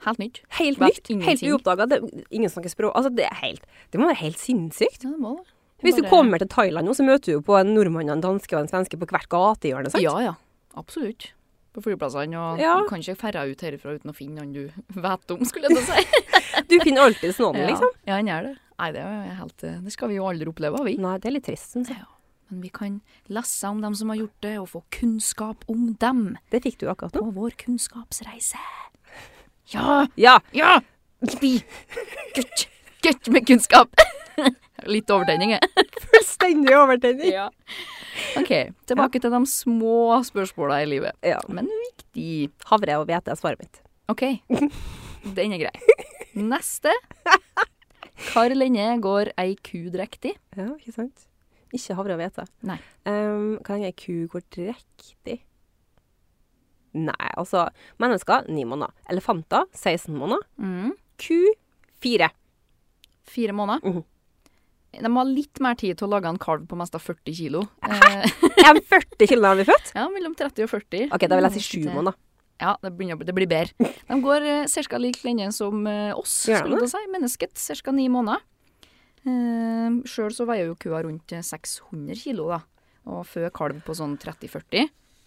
Speaker 3: Helt nytt.
Speaker 2: Helt
Speaker 3: Vet
Speaker 2: nytt. Helt
Speaker 3: ingenting.
Speaker 2: uoppdaga. Ingen snakker språk. Altså, det, er helt, det må være helt sinnssykt.
Speaker 3: Ja, det må det.
Speaker 2: Hvis du
Speaker 3: Bare-
Speaker 2: kommer til Thailand nå, så møter du jo på en nordmann, en danske og en svenske på hvert gatehjørne. sant?
Speaker 3: Ja, ja. Absolutt. På flyplassene. Og
Speaker 2: Ja.
Speaker 3: du kan ikke ferde ut herifra uten å finne han du vet om, skulle jeg til å si.
Speaker 2: Du finner alltid noen, liksom.
Speaker 3: Ja, han gjør det. Nei, det, er jo helt, eh, det skal vi jo aldri oppleve, vi.
Speaker 2: Nei, det er litt trist, syns jeg.
Speaker 3: Men vi kan lese om dem som har gjort det, og få kunnskap om dem
Speaker 2: Det fikk du akkurat nå.
Speaker 3: på vår kunnskapsreise. Ja!
Speaker 2: Ja!
Speaker 3: Ja! Vi! Gutt! Gutt med kunnskap! Litt overtenning, jeg.
Speaker 2: Fullstendig overtenning.
Speaker 3: Ja. OK, tilbake til de små spørsmåla i livet.
Speaker 2: Ja.
Speaker 3: Men viktig.
Speaker 2: Havre og hvete er svaret mitt.
Speaker 3: OK. Den er grei. Neste. Hvor lenge går ei ku drektig?
Speaker 2: Ja, ikke sant? Ikke havre og hvete.
Speaker 3: Nei.
Speaker 2: Um, hva lenge ei ku går drektig? Nei, altså Mennesker ni måneder. Elefanter 16 måneder.
Speaker 3: Mm.
Speaker 2: Ku fire.
Speaker 3: Fire måneder.
Speaker 2: Mhm.
Speaker 3: De har litt mer tid til å lage en kalv på mest av 40 kilo. Eh,
Speaker 2: Er de 40 kilo når de blir født?
Speaker 3: ja, mellom 30 og 40.
Speaker 2: OK, da vil jeg si sju
Speaker 3: Det-
Speaker 2: måneder.
Speaker 3: Ja, det, begynner, å bli- det blir bedre. De går eh, ca. like lenge som eh, oss,
Speaker 2: Gjør de
Speaker 3: skulle jeg til å si. Mennesket. Ca. ni måneder. Eh, Sjøl så veier jo kua rundt eh, 600 kilo, da. Og føder kalv på sånn 30-40.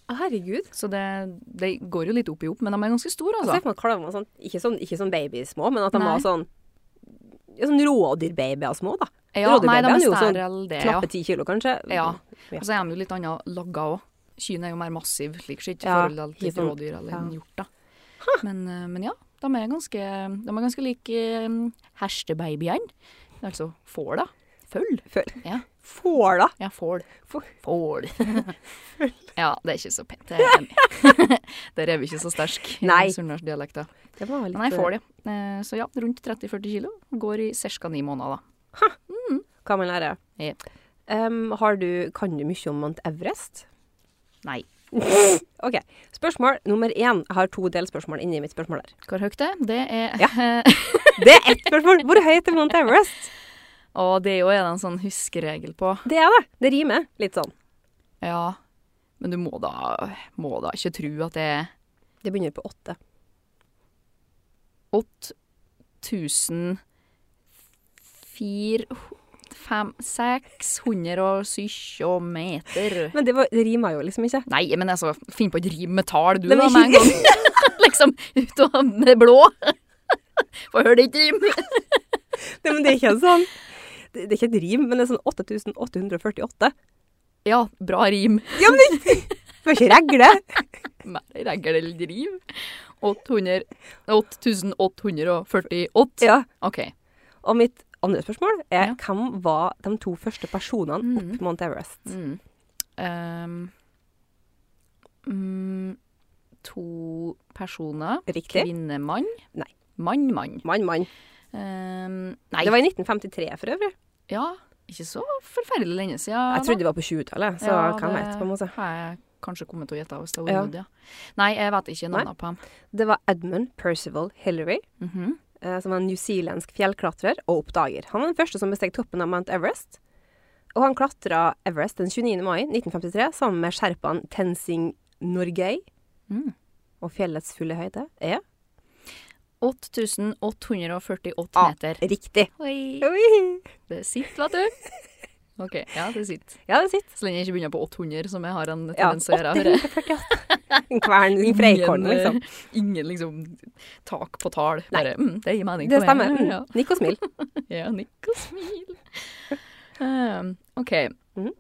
Speaker 2: Herregud.
Speaker 3: Så det, det går jo litt opp i opp, men de er ganske store,
Speaker 2: Jeg ser
Speaker 3: altså.
Speaker 2: for meg kalvene sånn, ikke sånn, ikke sånn babysmå, men at de
Speaker 3: Nei.
Speaker 2: var sånn ja, Sånn rådyrbabyer små, da.
Speaker 3: Ja, nei,
Speaker 2: rådyrbabyen
Speaker 3: de er
Speaker 2: er jo sånn
Speaker 3: sterile, det, ja.
Speaker 2: Knappe ti kilo, kanskje.
Speaker 3: Ja.
Speaker 2: Ja.
Speaker 3: Og så er de jo litt annet lagga òg. Kyrne er jo mer massiv, slik sett, i
Speaker 2: Ja,
Speaker 3: forhold til
Speaker 2: ikke
Speaker 3: et
Speaker 2: sant.
Speaker 3: rådyr eller en
Speaker 2: Ja.
Speaker 3: hjort. da. Men, eh, men ja, de er ganske, de er ganske like um, herstebabyene. Altså får, da. Føll.
Speaker 2: Føl.
Speaker 3: Ja,
Speaker 2: Får, da?
Speaker 3: ja fål.
Speaker 2: Får.
Speaker 3: Fål. ja, det er ikke så pent. Det er enig. Der er vi ikke så sterke i
Speaker 2: Nei.
Speaker 3: sunnmørsdialekta.
Speaker 2: Det var litt,
Speaker 3: Nei, får de. Eh, Så ja, rundt 30-40 kilo. Går i ca. ni måneder, da.
Speaker 2: Hva man lærer.
Speaker 3: Jepp.
Speaker 2: Em, har du, kan du mye om Mount Everest?
Speaker 3: Nei.
Speaker 2: OK. Spørsmål nummer én. Jeg har to delspørsmål inni mitt spørsmål der.
Speaker 3: Hvor høyt det er? Det er
Speaker 2: Det er ett spørsmål! Hvor høyt er Mount Everest?
Speaker 3: Og det er jo en sånn huskeregel på.
Speaker 2: Det er det. Det rimer litt sånn.
Speaker 3: Ja, men du må da, må da ikke tro at det er
Speaker 2: Det begynner på åtte.
Speaker 3: 8400 meter.
Speaker 2: Men det, var, det rima jo liksom ikke.
Speaker 3: Nei, men altså, finn på et rim med tall, du
Speaker 2: Det
Speaker 3: da,
Speaker 2: var
Speaker 3: med en gang. liksom ut av det blå. Få høre ditt rim.
Speaker 2: Nei, men det er ikke en sånn det, det er ikke et rim, men det er sånn 8848.
Speaker 3: Ja, bra rim.
Speaker 2: Ja, men det det var ikke regle!
Speaker 3: Mer regel eller rim. 800 8848.
Speaker 2: Ja.
Speaker 3: OK.
Speaker 2: Og mitt andre spørsmål er
Speaker 3: Ja.
Speaker 2: hvem var de to første personene
Speaker 3: Mhm.
Speaker 2: opp Mount Everest?
Speaker 3: Mm. Ehm, mm, to personer.
Speaker 2: Riktig.
Speaker 3: Kvinnemann.
Speaker 2: Nei.
Speaker 3: Mann-mann.
Speaker 2: Mann, mann.
Speaker 3: Ehm, nei.
Speaker 2: Det var i 1953 for øvrig.
Speaker 3: Ja. Ikke så forferdelig lenge siden.
Speaker 2: Jeg
Speaker 3: da.
Speaker 2: trodde det var på 20-tallet, så
Speaker 3: Ja,
Speaker 2: hva jeg vet, på en måte.
Speaker 3: Det har jeg kanskje kommet til å gjette hvis det har
Speaker 2: Ja.
Speaker 3: vært ja. Nei, jeg vet ikke navnet på dem.
Speaker 2: Det var Edmund Percival Hillary,
Speaker 3: Mhm.
Speaker 2: eh, som var en newzealandsk fjellklatrer og oppdager. Han var den første som besteg toppen av Mount Everest. Og han klatra Everest den 29. mai 1953 sammen med sherpaen Tenzing Norgay.
Speaker 3: Mm.
Speaker 2: Og fjellets fulle høyde er
Speaker 3: 8848
Speaker 2: Ah.
Speaker 3: meter.
Speaker 2: Riktig!
Speaker 3: Oi.
Speaker 2: Oi.
Speaker 3: Det sitter, vet du. OK. Ja, det sitter.
Speaker 2: Ja, det sitter.
Speaker 3: Så lenge jeg ikke begynner på 800, som jeg har en
Speaker 2: Ja,
Speaker 3: tendens til å gjøre. hører jeg.
Speaker 2: 848. En kvern i freikorn,
Speaker 3: Ingen, eh,
Speaker 2: liksom.
Speaker 3: Ingen liksom tak på tall. Bare, mm, det gir mening.
Speaker 2: Det
Speaker 3: for meg.
Speaker 2: stemmer. Mm.
Speaker 3: Ja,
Speaker 2: Nikk og smil.
Speaker 3: ja nikk og smil. Um, OK.
Speaker 2: Mhm.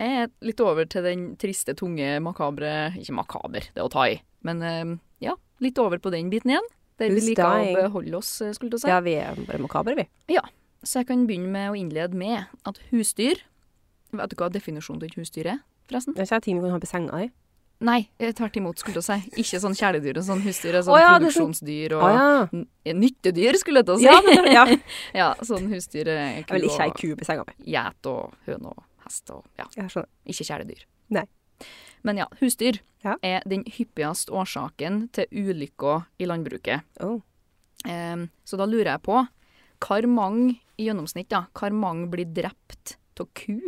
Speaker 3: Jeg er litt over til den triste, tunge, makabre Ikke makaber, det er å ta i. Men um, ja, litt over på den biten igjen. Der vi
Speaker 2: Who's
Speaker 3: liker å
Speaker 2: dying?
Speaker 3: beholde oss, eh, skulle du si.
Speaker 2: Ja, vi er bare makabre, vi.
Speaker 3: Så jeg kan begynne med å innlede med at husdyr Vet du hva definisjonen til et husdyr er, forresten?
Speaker 2: Det er ikke ting vi kan ha på senga i.
Speaker 3: Nei, eh, tvert imot, skulle jeg si. Ikke sånn kjæledyr og sånn husdyr. Sånn
Speaker 2: Å ja, det er sånn-
Speaker 3: produksjonsdyr og
Speaker 2: Å ja.
Speaker 3: N- nyttedyr, skulle jeg til å si.
Speaker 2: Ja, det, ja.
Speaker 3: Ja, sånn husdyr eh,
Speaker 2: Jeg vil ikke ha ei
Speaker 3: ku og
Speaker 2: ku på senga mi.
Speaker 3: geit og høne og hest og ja,
Speaker 2: Jeg skjønner.
Speaker 3: ikke kjæledyr.
Speaker 2: Nei.
Speaker 3: Men ja, husdyr
Speaker 2: Ja.
Speaker 3: er den hyppigste årsaken til ulykker i landbruket.
Speaker 2: Oh.
Speaker 3: Ehm, så da lurer jeg på hvor mange i gjennomsnitt da, hvor mange blir drept av ku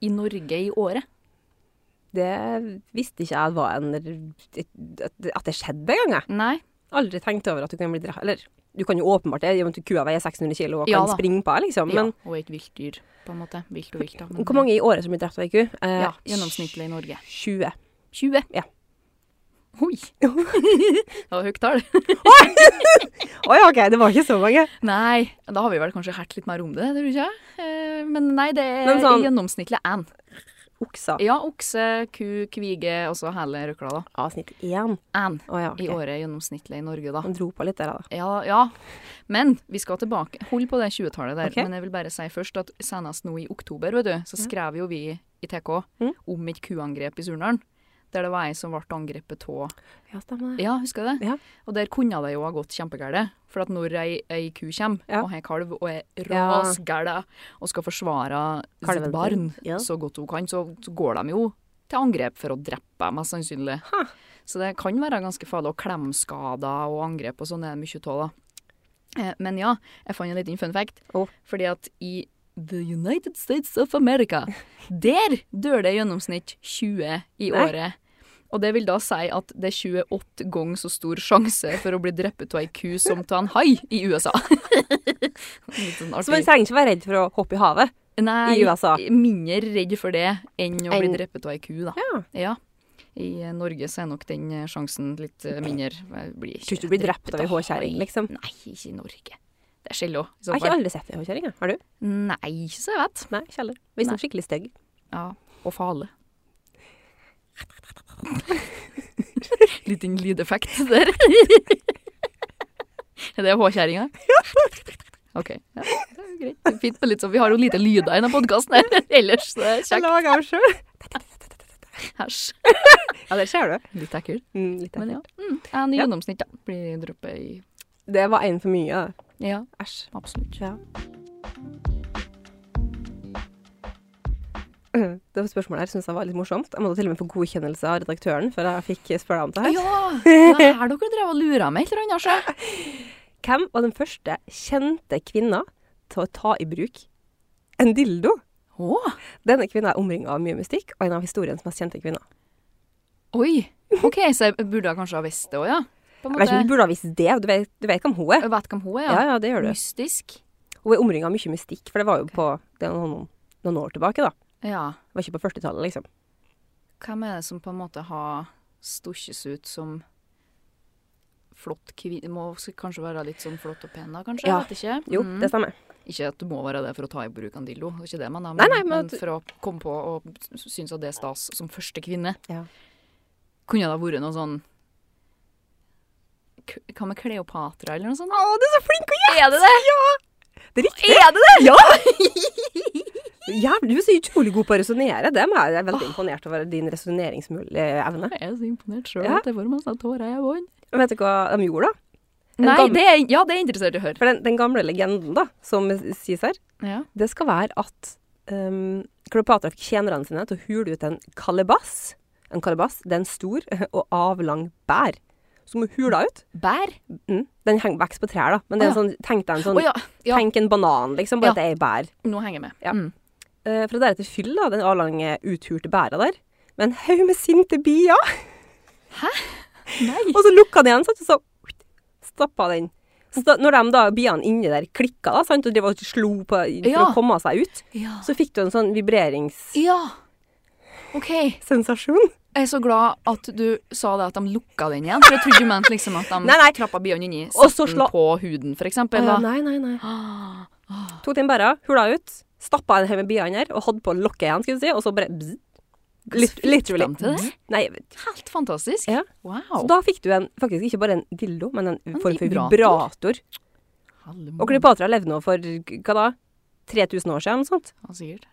Speaker 3: i Norge i året?
Speaker 2: Det visste ikke jeg var en At det skjedde en gang, jeg.
Speaker 3: Nei,
Speaker 2: Aldri tenkt over at du kan bli drept. Eller du kan jo åpenbart det, i og med at kua veier 600 kilo og kan
Speaker 3: Ja da.
Speaker 2: springe på deg, liksom.
Speaker 3: ja,
Speaker 2: Men
Speaker 3: og et vilt dyr, på en måte. Vilt og vilt, da. men-
Speaker 2: hvor mange i året som blir drept av ei ku? Eh,
Speaker 3: Ja, gjennomsnittlig i Norge.
Speaker 2: 20.
Speaker 3: 20?
Speaker 2: Ja.
Speaker 3: Oi! det var høyt tall.
Speaker 2: Å ja, OK, det var ikke så mange.
Speaker 3: Nei, da har vi vel kanskje hørt litt mer om det, tror du ikke? Eh, Men nei, det er
Speaker 2: Men sånn-
Speaker 3: gjennomsnittlig én.
Speaker 2: Okser.
Speaker 3: Ja, okse, ku, kvige og så hele røkla, da.
Speaker 2: Avsnitt én.
Speaker 3: Én
Speaker 2: Å ja. ok.
Speaker 3: i året gjennomsnittlig i Norge, da.
Speaker 2: Han dro på litt der, da.
Speaker 3: Ja, ja. Men vi skal tilbake. Hold på det 20-tallet der.
Speaker 2: Ok.
Speaker 3: Men jeg vil bare si først at senest nå i oktober, vet du, så skrev jo vi i TK
Speaker 2: Mm.
Speaker 3: om et kuangrep i Surnadal. Der det var ei som ble angrepet av
Speaker 2: Ja, stemmer det.
Speaker 3: Ja, husker du det?
Speaker 2: Ja.
Speaker 3: Og der kunne det jo ha gått kjempegærent. For at når ei, ei ku kommer
Speaker 2: Ja.
Speaker 3: og har kalv og er
Speaker 2: Ja.
Speaker 3: rasgæla og skal forsvare
Speaker 2: Kalven
Speaker 3: sitt barn
Speaker 2: sin. Ja.
Speaker 3: så godt hun kan, så, så går de jo til angrep for å drepe, mest sannsynlig.
Speaker 2: Ha.
Speaker 3: Så det kan være ganske farlig. Og klemskader og angrep og sånn er det mye av, da. Eh, Men ja, jeg fant en liten fun fact.
Speaker 2: Å.
Speaker 3: Fordi at i The United States of America, der dør det i gjennomsnitt 20
Speaker 2: Nei.
Speaker 3: i året. Og det vil da si at det er 28 ganger så stor sjanse for å bli drept av ei ku som av en hai i USA. Litt sånn
Speaker 2: Så man
Speaker 3: artig.
Speaker 2: trenger ikke være redd for å hoppe i havet.
Speaker 3: Nei,
Speaker 2: i USA.
Speaker 3: mindre redd for det enn å bli
Speaker 2: Enn-
Speaker 3: drept av ei ku, da.
Speaker 2: Ja.
Speaker 3: Ja. I eh, Norge så er nok den eh, sjansen litt eh, mindre. Jeg Blir ikke
Speaker 2: Tror ikke du blir drept av ei håkjerring,
Speaker 3: hai.
Speaker 2: liksom.
Speaker 3: Nei, ikke i Norge. Det er skjello, i
Speaker 2: Jeg
Speaker 3: så
Speaker 2: har ikke
Speaker 3: fall.
Speaker 2: aldri sett ei håkjerring, jeg. Har du?
Speaker 3: Nei, ikke så jeg vet.
Speaker 2: Nei, ikke heller. Hvis den er sånn skikkelig stygg.
Speaker 3: Ja, og fale. Liten lydeffekt der. Er det håkjerringa? OK. Ja, det er jo greit. Det er Fint med litt sånn Vi har jo lite lyder i denne podkasten her ellers, så det er kjekt.
Speaker 2: lager jeg sjøl.
Speaker 3: Æsj.
Speaker 2: Ja, det ser du.
Speaker 3: Litt ekkelt.
Speaker 2: Mm, litt
Speaker 3: Men
Speaker 2: ekkelt.
Speaker 3: ja. Mm, en
Speaker 2: Ja.
Speaker 3: gjennomsnitt, da. Blir dryppet i
Speaker 2: Det var én for mye. da.
Speaker 3: Ja,
Speaker 2: Æsj.
Speaker 3: absolutt.
Speaker 2: Ja. Det var spørsmålet her synes jeg var litt morsomt. Jeg måtte til og med få godkjennelse av redaktøren før jeg fikk spørre om det her.
Speaker 3: Ja! Det er her dere drev og lura meg et eller annet, altså. sjø.
Speaker 2: Hvem var den første kjente kvinna til å ta i bruk en dildo?
Speaker 3: Å,
Speaker 2: Denne kvinna er omringa av mye mystikk, og en av historiens mest kjente kvinner.
Speaker 3: Oi. OK, så jeg burde kanskje ha visst det òg, ja. På en
Speaker 2: Jeg vet ikke,
Speaker 3: måte.
Speaker 2: du burde ha visst det, du vet, du vet hvem hun er.
Speaker 3: Jeg vet hvem hun er,
Speaker 2: Ja, ja, det gjør du.
Speaker 3: Mystisk.
Speaker 2: Hun er omringa av mye mystikk, for det var jo på det er noen, noen år tilbake, da.
Speaker 3: Ja.
Speaker 2: Det var ikke på 40-tallet, liksom.
Speaker 3: Hvem er det som på en måte har stusjes ut som flott kvinne Må skal kanskje være litt sånn flott og pen, da, kanskje?
Speaker 2: Ja.
Speaker 3: Jeg Vet ikke.
Speaker 2: Jo,
Speaker 3: Mm.
Speaker 2: det stemmer.
Speaker 3: Ikke at du må være det for å ta i bruk en dildo, det er ikke det, men,
Speaker 2: Nei, nei, men at du-
Speaker 3: for å komme på og synes at det er stas som første kvinne.
Speaker 2: Ja.
Speaker 3: Kunne det ha vært noe sånn K- Hva med Kleopatra eller noe sånt?
Speaker 2: Å, du er så flink å gjette!
Speaker 3: Ah, Er det det?
Speaker 2: Det er riktig.
Speaker 3: Er det det?
Speaker 2: Ja! Jævlig, du er så utrolig god på å resonnere. Det må jeg- Jeg er veldig imponert over din resonneringsevne.
Speaker 3: Jeg er så imponert sjøl
Speaker 2: Ja.
Speaker 3: at jeg får masse tårer i øynene.
Speaker 2: Vet du hva de gjorde, da?
Speaker 3: Nei,
Speaker 2: gammel-
Speaker 3: det er, ja, det er jeg interessert i å høre.
Speaker 2: For den, den gamle legenden, da, som sies her,
Speaker 3: Ja.
Speaker 2: det skal være at um, Kleopatra fikk tjenerne sine til å hule ut en kalebass. En kalebass det er en stor og avlang bær som hun hula ut.
Speaker 3: Bær?
Speaker 2: Mm. Den henger vokser på trær, da. Men det er
Speaker 3: Å, ja.
Speaker 2: sånn, tenk deg en
Speaker 3: Å
Speaker 2: sånn
Speaker 3: ja, ja.
Speaker 2: Tenk en banan, liksom, bare
Speaker 3: Ja.
Speaker 2: at det er ei bær.
Speaker 3: nå henger jeg med.
Speaker 2: Ja.
Speaker 3: Mm.
Speaker 2: Eh, for å deretter fylle da, den avlange, uthurte bæra der med en haug med sinte bier.
Speaker 3: Nei.
Speaker 2: Og så lukka den igjen, sant, og så stappa den. Så da, når de da biene inni der klikka da, sant, og drev og slo på for
Speaker 3: Ja.
Speaker 2: å komme seg ut,
Speaker 3: Ja.
Speaker 2: så fikk du en sånn vibreringssensasjon.
Speaker 3: ja. OK. Jeg er så glad at du sa det at de lukka den igjen. For jeg trodde du mente liksom at de
Speaker 2: Nei, nei.
Speaker 3: trappa biene inni,
Speaker 2: Og
Speaker 3: satte
Speaker 2: så
Speaker 3: den
Speaker 2: slå-
Speaker 3: på huden, for eksempel.
Speaker 2: Å ja,
Speaker 3: da.
Speaker 2: nei, nei, nei.
Speaker 3: Ah, ah.
Speaker 2: Tok den bæra, hula ut, stappa en haug med bier inni der, og hadde på lokket igjen, skulle du si, og så bare bzz. Lit-
Speaker 3: Hvordan fikk
Speaker 2: Literally.
Speaker 3: de til det?
Speaker 2: Nei, jeg vet ikke.
Speaker 3: Helt fantastisk.
Speaker 2: Ja.
Speaker 3: Wow.
Speaker 2: så da fikk du en, faktisk ikke bare en dildo, men en form for
Speaker 3: vibrator. Mm.
Speaker 2: vibrator.
Speaker 3: Hallemåne.
Speaker 2: Og Kleopatra levde nå for hva da? 3000 år siden? Noe sånt?
Speaker 3: Ja, sikkert.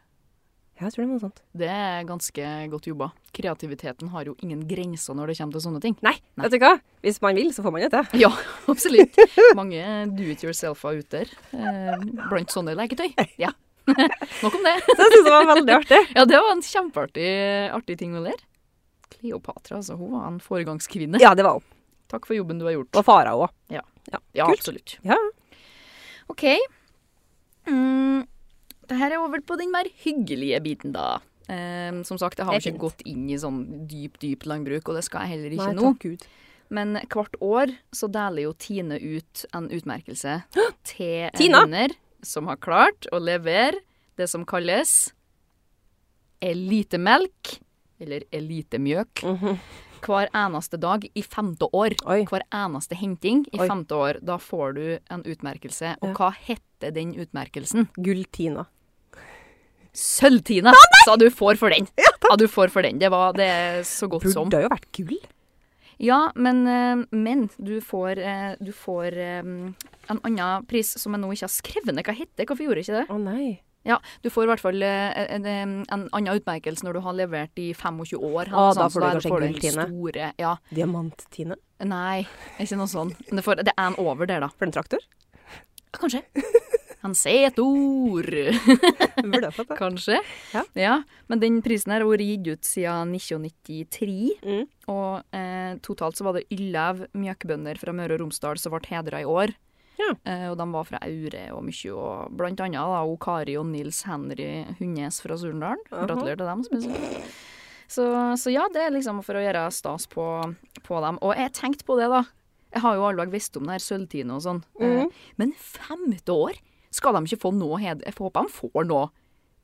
Speaker 2: Ja, jeg tror det var noe sånt.
Speaker 3: Det er ganske godt jobba. Kreativiteten har jo ingen grenser når det kommer til sånne ting.
Speaker 2: Nei,
Speaker 3: Nei.
Speaker 2: vet du hva? Hvis man vil, så får man det til.
Speaker 3: Ja, absolutt. Mange do it yourself-er ute der. Eh, blant sånne leketøy. Ja. Nok om det.
Speaker 2: Så jeg synes det var veldig artig.
Speaker 3: Ja, det var en kjempeartig artig ting å lære. Kleopatra, altså. Hun var en foregangskvinne.
Speaker 2: Ja, det var hun.
Speaker 3: Takk for jobben du har gjort.
Speaker 2: Og fara òg.
Speaker 3: Ja,
Speaker 2: kult.
Speaker 3: absolutt.
Speaker 2: Ja.
Speaker 3: OK. Mm, det her er over på den mer hyggelige biten, da. Eh, som sagt, jeg har
Speaker 2: Det er
Speaker 3: ikke gått inn i sånn dyp, dypt landbruk, og det skal jeg heller ikke nå.
Speaker 2: takk Gud.
Speaker 3: Men hvert år så deler jo Tine ut en utmerkelse til en
Speaker 2: Tina?
Speaker 3: vinner som har klart å levere det som kalles elitemelk, eller elitemjøk,
Speaker 2: Mhm.
Speaker 3: hver eneste dag i femte år.
Speaker 2: Oi.
Speaker 3: Hver eneste henting i
Speaker 2: Oi.
Speaker 3: femte år. Da får du en utmerkelse. Og
Speaker 2: Ja.
Speaker 3: hva heter den utmerkelsen?
Speaker 2: Gull-Tina.
Speaker 3: Sølvtine! Sa du får for den. Ja, du får for den. Det, var, det er så godt som.
Speaker 2: Burde jo vært gull.
Speaker 3: Ja, men, eh, men du får, eh, du får eh, en annen pris som jeg nå ikke har skrevet ned hva heter. Hvorfor gjorde jeg ikke det?
Speaker 2: Å nei.
Speaker 3: Ja, Du får i hvert fall eh, en, en en annen utmerkelse når du har levert i 25 år.
Speaker 2: Å,
Speaker 3: eller noe
Speaker 2: da
Speaker 3: sånt,
Speaker 2: får du
Speaker 3: så
Speaker 2: kanskje en
Speaker 3: den
Speaker 2: gulltine.
Speaker 3: store- Ja.
Speaker 2: Diamant-Tine.
Speaker 3: Nei, ikke noe sånt. Men Det, får, det er en over der, da.
Speaker 2: For en traktor.
Speaker 3: Ja, Kanskje. Han sier et ord.
Speaker 2: Burde jeg fått det.
Speaker 3: Kanskje.
Speaker 2: Ja.
Speaker 3: Men den prisen her har vært gitt ut siden 1993.
Speaker 2: Mm.
Speaker 3: Og eh, totalt så var det 11 mjøkbønder fra Møre og Romsdal som ble hedra i år.
Speaker 2: Ja.
Speaker 3: Eh, og de var fra Aure og mye, og blant annet da, og Kari og Nils Henry Hundnes fra Surndalen.
Speaker 2: Aha.
Speaker 3: Gratulerer til dem. som jeg sier. Så, så ja, det er liksom for å gjøre stas på, på dem. Og jeg tenkte på det, da. Jeg har jo alle visst om det her sølvtine og sånn.
Speaker 2: Mhm.
Speaker 3: Eh, men femte år skal de ikke få noe hed... Jeg får håpe de får noe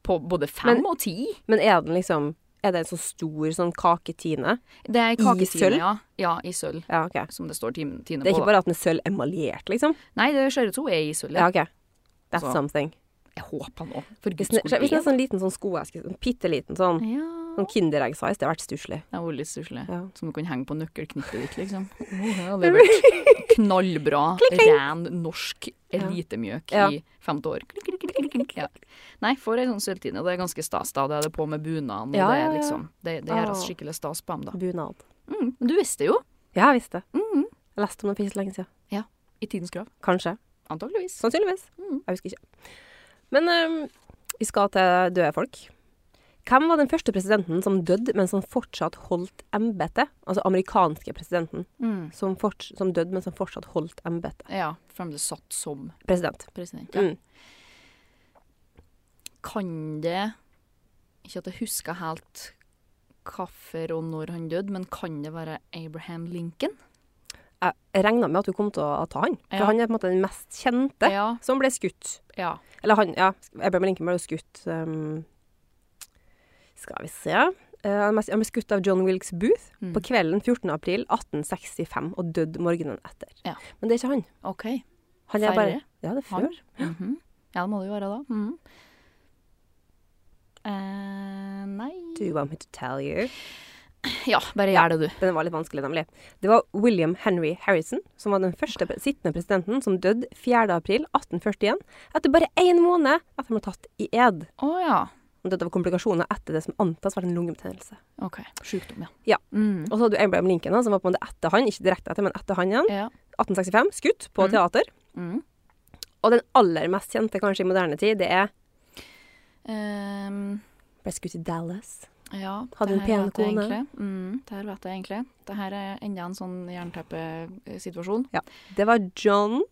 Speaker 3: på både fem
Speaker 2: Men-
Speaker 3: og ti.
Speaker 2: Men er den liksom Er det en så stor sånn kake-Tine?
Speaker 3: Det er kaketine,
Speaker 2: sølv?
Speaker 3: ja. Ja, i sølv.
Speaker 2: Ja, OK.
Speaker 3: Som det står Tine Tine
Speaker 2: Det er
Speaker 3: på.
Speaker 2: ikke
Speaker 3: da.
Speaker 2: bare at den er sølv emaljert, liksom?
Speaker 3: Nei, det ser ut som hun er i sølv.
Speaker 2: Ja,
Speaker 3: Ja.
Speaker 2: OK. That's
Speaker 3: Så.
Speaker 2: something.
Speaker 3: Jeg håper nå. For
Speaker 2: Hvis den
Speaker 3: guds skyld.
Speaker 2: hvis den er sånn liten sånn skoeske, sånn bitte liten sånn,
Speaker 3: Ja
Speaker 2: sånn Kinderegg-size, det hadde vært stusslig.
Speaker 3: Det var litt stusslig.
Speaker 2: Ja.
Speaker 3: Som du kan henge på nøkkelknippet ditt, liksom. Åh, det hadde vært knallbra, ren norsk elitemjøk
Speaker 2: Ja.
Speaker 3: i femte år. Klikk, klikk, klikk, klikk, klikk. Ja. Nei, får ei sånn sølvtine, og det er ganske stas. da. Da er det på med bunaden, og
Speaker 2: Ja,
Speaker 3: det,
Speaker 2: ja,
Speaker 3: er
Speaker 2: ja.
Speaker 3: liksom, det, det gjøres
Speaker 2: Ah.
Speaker 3: skikkelig stas på dem, da.
Speaker 2: Bunad. Mm.
Speaker 3: Mm, men du visste jo,
Speaker 2: Ja, jeg visste det. Jeg leste om den for ikke så lenge siden.
Speaker 3: i tidens krav,
Speaker 2: Kanskje.
Speaker 3: antageligvis.
Speaker 2: Sannsynligvis.
Speaker 3: Mm.
Speaker 2: Jeg husker ikke. Men øhm, vi skal til døde folk. Hvem var den første presidenten som døde mens han fortsatt holdt embetet? Altså amerikanske presidenten
Speaker 3: Mm.
Speaker 2: som, forts- som døde mens han fortsatt holdt embetet.
Speaker 3: Ja, fremdeles satt som
Speaker 2: President.
Speaker 3: president. Ja.
Speaker 2: Mm.
Speaker 3: Kan det Ikke at jeg husker helt hvorfor og når han døde, men kan det være Abraham Lincoln?
Speaker 2: Jeg regna med at du kom til å ta han, for
Speaker 3: Ja.
Speaker 2: han er på en måte den mest kjente
Speaker 3: Ja,
Speaker 2: som ble skutt.
Speaker 3: ja.
Speaker 2: Eller han, ja. Abraham Lincoln ble jo skutt øhm, Skal vi se Eh, Han ble- han ble skutt av John Wilkes Booth
Speaker 3: Mm.
Speaker 2: på kvelden 14. april 1865 og døde morgenen etter.
Speaker 3: Ja.
Speaker 2: Men det er ikke han.
Speaker 3: OK.
Speaker 2: Han er
Speaker 3: Færre?
Speaker 2: bare Ja, det er
Speaker 3: Han?
Speaker 2: før.
Speaker 3: Mhm. Ja, det må det jo være da. Mhm. Eh, nei
Speaker 2: Do you want me to tell you?
Speaker 3: Ja, bare gjør det, du.
Speaker 2: Den var litt vanskelig, nemlig. Det var William Henry Harrison, som var den første pre- sittende presidenten som døde 4. april 1841, etter bare én måned etter han ble tatt i ed.
Speaker 3: Å ja.
Speaker 2: Han døde av komplikasjoner etter det som antas var en lungebetennelse.
Speaker 3: OK. Sjukdom, ja.
Speaker 2: Ja.
Speaker 3: Mhm.
Speaker 2: Og så hadde du Abraham Lincoln, da, som var på en måte etter han, ikke direkte etter, men etter han igjen,
Speaker 3: ja.
Speaker 2: 1865, skutt på
Speaker 3: Mm.
Speaker 2: teater.
Speaker 3: Mm.
Speaker 2: Og den aller mest kjente kanskje i moderne tid, det er
Speaker 3: Ehm,
Speaker 2: Ble skutt i Dallas.
Speaker 3: ja,
Speaker 2: Hadde
Speaker 3: det
Speaker 2: hun
Speaker 3: her
Speaker 2: pene
Speaker 3: vet jeg
Speaker 2: kone?
Speaker 3: egentlig. Mm, det her vet jeg egentlig. Det her er enda en sånn jernteppesituasjon.
Speaker 2: Det var John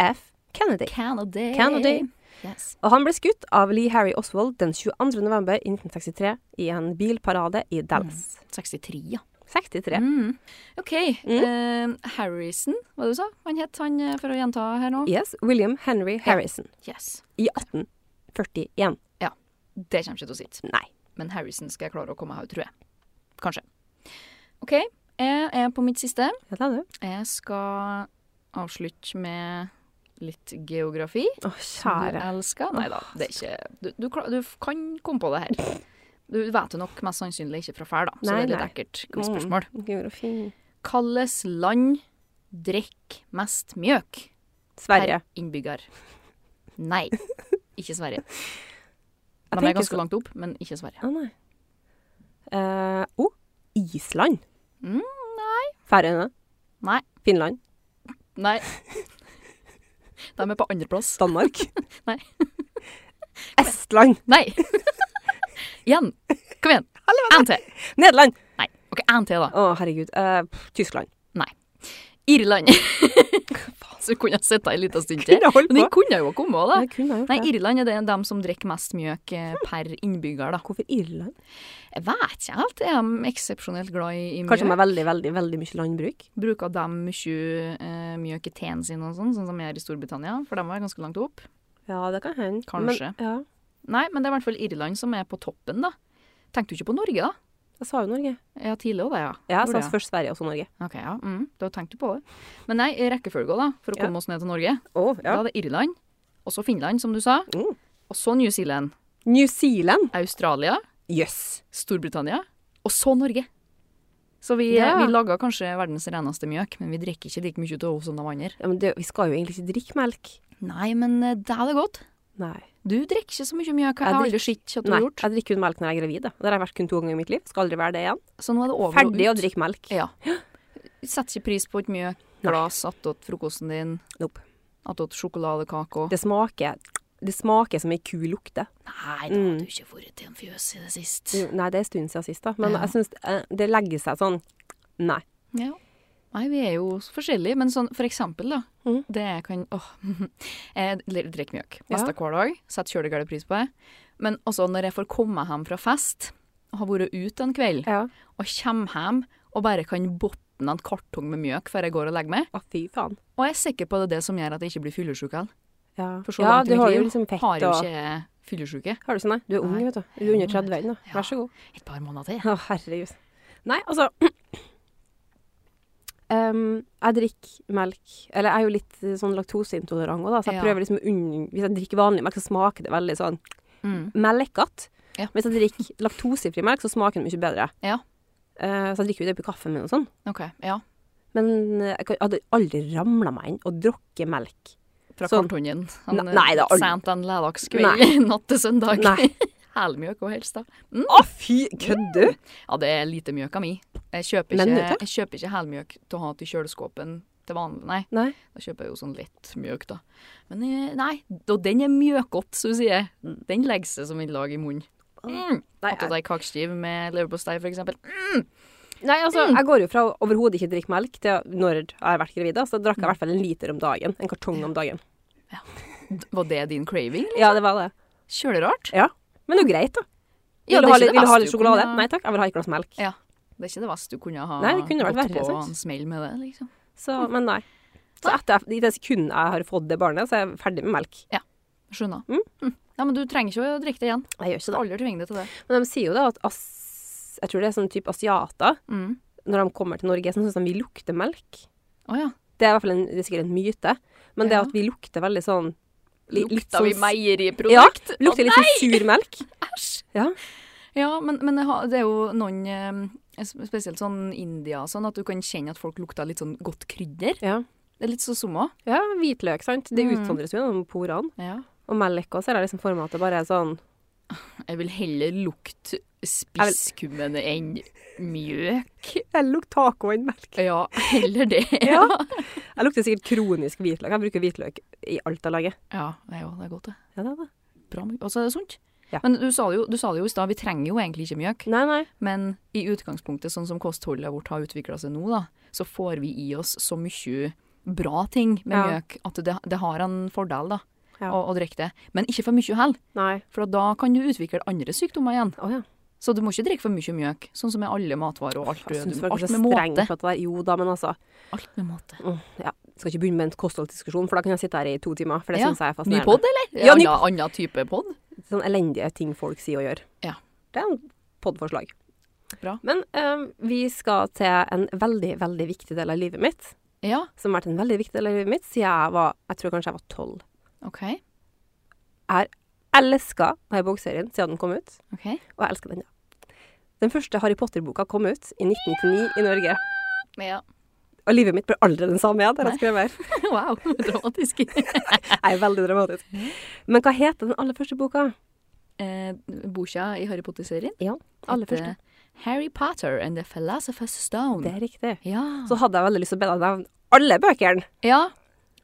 Speaker 2: F. Kennedy.
Speaker 3: Canada.
Speaker 2: Kennedy.
Speaker 3: Yes.
Speaker 2: Og han ble skutt av Lee Harry Oswald den 22. november 1963 i en bilparade i Dallas.
Speaker 3: 63, ja.
Speaker 2: 63.
Speaker 3: Mm. OK.
Speaker 2: Mm.
Speaker 3: eh, Harrison, hva du sa han het, han eh, for å gjenta her nå?
Speaker 2: Yes, William Henry Harrison.
Speaker 3: Yes.
Speaker 2: I 1841.
Speaker 3: Det kommer ikke til å sitte.
Speaker 2: Nei.
Speaker 3: Men Harrison skal jeg klare å komme meg ut, tror jeg. Kanskje. OK, jeg er på mitt siste.
Speaker 2: Ja, det er det.
Speaker 3: Jeg skal avslutte med litt geografi.
Speaker 2: Å,
Speaker 3: Som du
Speaker 2: kjære.
Speaker 3: elsker. Nei da, det er ikke du, du, kla- du f- kan komme på det her. Du vet det nok mest sannsynlig ikke fra før, da. Så
Speaker 2: Nei,
Speaker 3: det er litt
Speaker 2: nei.
Speaker 3: ekkelt quiz-spørsmål.
Speaker 2: Mm, Geografi.
Speaker 3: Hvilket land drikker mest mjøk per
Speaker 2: Sverige.
Speaker 3: innbygger? Nei, ikke Sverige.
Speaker 2: Jeg
Speaker 3: De er
Speaker 2: tenker så-
Speaker 3: ganske langt opp, men ikke Sverige.
Speaker 2: Å, nei. Eh, oh, Island.
Speaker 3: Mm,
Speaker 2: nei. Færøyene.
Speaker 3: Nei.
Speaker 2: Finland.
Speaker 3: Nei. De er på andreplass.
Speaker 2: Danmark.
Speaker 3: Nei.
Speaker 2: Estland.
Speaker 3: Nei! Igjen. Kom igjen. En til.
Speaker 2: Nederland.
Speaker 3: Nei. OK, en til, da.
Speaker 2: Å, herregud. Eh, pff, Tyskland.
Speaker 3: Irland. Faen, så kunne jeg sittet en liten stund til.
Speaker 2: Kunne holdt
Speaker 3: Men den
Speaker 2: på.
Speaker 3: kunne jo komme òg, da.
Speaker 2: Jeg kunne ha gjort
Speaker 3: Nei,
Speaker 2: det.
Speaker 3: Irland er det dem som drikker mest mjøk eh, per innbygger, da.
Speaker 2: Hvorfor Irland?
Speaker 3: Jeg vet ikke helt. Er de eksepsjonelt glad i, i
Speaker 2: Kanskje de
Speaker 3: mjøk?
Speaker 2: har veldig, veldig, veldig mye landbruk?
Speaker 3: Bruker de mye eh, mjøk i teen sin og sånn, sånn som jeg gjør i Storbritannia? For de er ganske langt opp.
Speaker 2: Ja, det kan hende.
Speaker 3: Kanskje.
Speaker 2: Men, ja.
Speaker 3: Nei, men det er i hvert fall Irland som er på toppen, da. Tenkte du ikke på Norge, da?
Speaker 2: Jeg sa jo Norge.
Speaker 3: Ja, tidlig òg, det, ja.
Speaker 2: Ja, jeg
Speaker 3: Gjorde
Speaker 2: sa først Sverige og så Norge.
Speaker 3: Ok, ja. Mm, da tenkte du på det. Men nei, i rekkefølge òg, da, for å
Speaker 2: Ja.
Speaker 3: komme oss ned til Norge.
Speaker 2: Oh,
Speaker 3: Da er det Irland, og så Finland, som du sa.
Speaker 2: Mm.
Speaker 3: Og så New Zealand.
Speaker 2: New Zealand.
Speaker 3: Australia.
Speaker 2: Jøss.
Speaker 3: Storbritannia, og så Norge. Så vi,
Speaker 2: Ja.
Speaker 3: vi lager kanskje verdens reneste mjøk, men vi drikker ikke like mye av henne som de andre.
Speaker 2: Ja, men det, vi skal jo egentlig ikke drikke melk.
Speaker 3: Nei, men eh, det er det godt.
Speaker 2: Nei.
Speaker 3: Du drikker ikke så mye mjøk.
Speaker 2: Jeg
Speaker 3: Jeg har aldri sett at du
Speaker 2: Nei.
Speaker 3: har gjort.
Speaker 2: Jeg drikker kun melk når jeg er gravid. da. Det har jeg vært kun to ganger i mitt liv. Skal aldri være det igjen.
Speaker 3: Så nå er det over
Speaker 2: Ferdig å
Speaker 3: og ut.
Speaker 2: drikke melk.
Speaker 3: Ja. Setter ikke pris på et mjøk, glass attåt frokosten din,
Speaker 2: Nope.
Speaker 3: attåt sjokoladekake og
Speaker 2: Det smaker Det smaker som ei ku lukter.
Speaker 3: Nei, da har du ikke vært til en fjøs i det sist.
Speaker 2: Nei, det er en stund siden sist, da. Men
Speaker 3: Ja.
Speaker 2: jeg syns eh, det legger seg sånn Nei.
Speaker 3: Ja. Nei, vi er jo så forskjellige, men sånn, for eksempel da,
Speaker 2: Mhm.
Speaker 3: det jeg kan, åh, jeg drikker mjøk nesten
Speaker 2: Ja.
Speaker 3: hver dag, setter kjølegale pris på det. Men også når jeg får komme hjem fra fest, og har vært ute en kveld,
Speaker 2: Ja.
Speaker 3: og kommer hjem og bare kan botne en kartong med mjøk før jeg går og legger meg,
Speaker 2: Å, fy faen.
Speaker 3: og jeg er sikker på at det er det som gjør at jeg ikke blir fyllesyk av.
Speaker 2: Ja,
Speaker 3: For så
Speaker 2: ja
Speaker 3: langt
Speaker 2: du
Speaker 3: i mitt
Speaker 2: har
Speaker 3: liv
Speaker 2: jo liksom fett
Speaker 3: Har jo
Speaker 2: og
Speaker 3: ikke fyllesyke.
Speaker 2: Har du ikke det? Du er ung,
Speaker 3: Nei.
Speaker 2: vet du. Du er under 30 ennå.
Speaker 3: Ja.
Speaker 2: Vær så god.
Speaker 3: Et par måneder til.
Speaker 2: Å, herregud. Nei, altså Ehm, Jeg drikker melk Eller jeg er jo litt eh, sånn laktoseintolerant òg, da, så jeg
Speaker 3: Ja.
Speaker 2: prøver liksom å unn... Hvis jeg drikker vanlig melk, så smaker det veldig sånn
Speaker 3: Mm.
Speaker 2: melkete.
Speaker 3: Ja.
Speaker 2: Men Hvis jeg drikker laktosefri melk, så smaker den mye bedre.
Speaker 3: Ja.
Speaker 2: Eh, så jeg drikker jo det oppi kaffen min og sånn.
Speaker 3: Ok, ja.
Speaker 2: Men eh, jeg kan- jeg hadde aldri ramla meg inn og drukket melk.
Speaker 3: Fra
Speaker 2: Sånn.
Speaker 3: kartongen.
Speaker 2: Ne- nei, det er aldri-
Speaker 3: Sent en
Speaker 2: Nei.
Speaker 3: ledagskveld, natt til søndag.
Speaker 2: Nei.
Speaker 3: Helmjøk og helst da.
Speaker 2: Å, fy! Kødder du?
Speaker 3: Ja, det er lite mjøka mi. Jeg kjøper
Speaker 2: Men
Speaker 3: ikke,
Speaker 2: du, takk.
Speaker 3: jeg kjøper ikke helmjøk til å ha til kjøleskåpen til vanlig. Nei,
Speaker 2: Nei.
Speaker 3: da kjøper jeg jo sånn lett mjøk, da. Men eh, nei, og den er mjøkgodt, så du sier. Den legger seg som et lag i munnen. Mm.
Speaker 2: Nei,
Speaker 3: Attåt ei kakeskive med leverpostei, for eksempel. Mm.
Speaker 2: Nei, altså, jeg går jo fra å overhodet ikke drikke melk til når jeg har vært gravid, da, så drakk jeg i hvert fall en liter om dagen. En kartong om dagen.
Speaker 3: Var det din craving?
Speaker 2: Ja, det var det.
Speaker 3: Kjølerart.
Speaker 2: Ja. Men det er jo greit, da. Vil
Speaker 3: Ja,
Speaker 2: du
Speaker 3: det er
Speaker 2: ha
Speaker 3: ikke
Speaker 2: litt, vil
Speaker 3: det
Speaker 2: du ha
Speaker 3: beste
Speaker 2: litt
Speaker 3: du
Speaker 2: sjokolade?
Speaker 3: kunne-
Speaker 2: Nei takk, jeg vil ha et glass melk.
Speaker 3: Ja. Det er ikke det verste du kunne ha
Speaker 2: Nei, det kunne vært
Speaker 3: gått
Speaker 2: verre,
Speaker 3: på
Speaker 2: sant?
Speaker 3: en smell med det, liksom.
Speaker 2: Så, men nei. Så etter, i det sekundet jeg har fått det barnet, så er jeg ferdig med melk.
Speaker 3: Skjønner.
Speaker 2: Mm.
Speaker 3: Mm. Ja, men du trenger ikke å drikke det igjen.
Speaker 2: Jeg gjør ikke
Speaker 3: Aldri tving deg til det.
Speaker 2: Men de sier jo da at as, jeg tror det er sånn type asiater,
Speaker 3: Mm.
Speaker 2: når de kommer til Norge, så syns de vi lukter melk.
Speaker 3: Å ja.
Speaker 2: Det er i hvert fall en, det er sikkert en myte. Men det
Speaker 3: Ja.
Speaker 2: at vi lukter veldig sånn li- litt
Speaker 3: Lukta
Speaker 2: sånn-
Speaker 3: vi
Speaker 2: Ja,
Speaker 3: meieriprodukt? Å,
Speaker 2: lukter litt sånn sur melk.
Speaker 3: Æsj!
Speaker 2: Ja.
Speaker 3: Ja, men, men det har- det er jo noen eh, sp- Spesielt sånn India og sånn, at du kan kjenne at folk lukter litt sånn godt krydder.
Speaker 2: Ja.
Speaker 3: Det er litt så som òg.
Speaker 2: Ja, hvitløk, sant. Det
Speaker 3: Mm.
Speaker 2: utsondres jo gjennom porene.
Speaker 3: Ja.
Speaker 2: Og melk også, er det liksom for meg at det bare er sånn
Speaker 3: Jeg vil heller lukte spisskummen enn mjøk.
Speaker 2: Jeg lukter taco enn melk.
Speaker 3: Ja, heller det.
Speaker 2: Ja. Jeg lukter sikkert kronisk hvitløk. Jeg bruker hvitløk i alt jeg lager.
Speaker 3: Ja, det er jo det er godt, det.
Speaker 2: Ja, det er det.
Speaker 3: Bra mjøk. Og så er det sunt.
Speaker 2: Ja.
Speaker 3: Men du sa, det jo, du sa det jo i stad, vi trenger jo egentlig ikke mjøk.
Speaker 2: Nei, nei.
Speaker 3: Men i utgangspunktet, sånn som kostholdet vårt har utvikla seg nå, da, så får vi i oss så mye bra ting med
Speaker 2: Ja.
Speaker 3: mjøk at det, det har en fordel, da.
Speaker 2: Ja.
Speaker 3: Å, å drikke det. Men ikke for mye heller,
Speaker 2: Nei.
Speaker 3: for da kan du utvikle andre sykdommer igjen.
Speaker 2: Å ja.
Speaker 3: Så du må ikke drikke for mye mjøk, sånn som med alle matvarer og alt.
Speaker 2: Jeg
Speaker 3: Du,
Speaker 2: syns
Speaker 3: må-
Speaker 2: folk er
Speaker 3: alt
Speaker 2: så
Speaker 3: med
Speaker 2: strenge
Speaker 3: måte.
Speaker 2: på det der. Jo da, men altså.
Speaker 3: Alt med måte.
Speaker 2: Mm, ja. Skal ikke begynne med en kostholdsdiskusjon, for da kan jeg sitte her i to timer. For Altså, det
Speaker 3: Ja.
Speaker 2: syns jeg er
Speaker 3: Ny
Speaker 2: fascinerende.
Speaker 3: pod, eller?
Speaker 2: Ja, ny-
Speaker 3: Anna, anna type pod.
Speaker 2: Sånne Sånn elendige ting folk sier og gjør.
Speaker 3: Ja.
Speaker 2: Det er en podforslag.
Speaker 3: Bra.
Speaker 2: Men eh, vi skal til en veldig, veldig viktig del av livet mitt.
Speaker 3: Ja,
Speaker 2: Som har vært en veldig viktig del av livet mitt siden jeg var Jeg tror kanskje jeg var tolv.
Speaker 3: OK.
Speaker 2: Elska denne bokserien siden den kom ut,
Speaker 3: ok.
Speaker 2: og jeg elsker den ennå. Den første Harry Potter-boka kom ut i 1999 i Norge.
Speaker 3: Ja.
Speaker 2: Og livet mitt ble aldri den samme igjen. der Jeg skrev her.
Speaker 3: Wow, dramatisk.
Speaker 2: Jeg er veldig dramatisk. Men hva heter den aller første boka?
Speaker 3: eh, boka i Harry Potter-serien
Speaker 2: Ja, aller første.
Speaker 3: heter Harry Potter and the Philosopher's Stone.
Speaker 2: Det er riktig.
Speaker 3: Ja.
Speaker 2: Så hadde jeg veldig lyst til å be deg nevne alle bøkene.
Speaker 3: ja.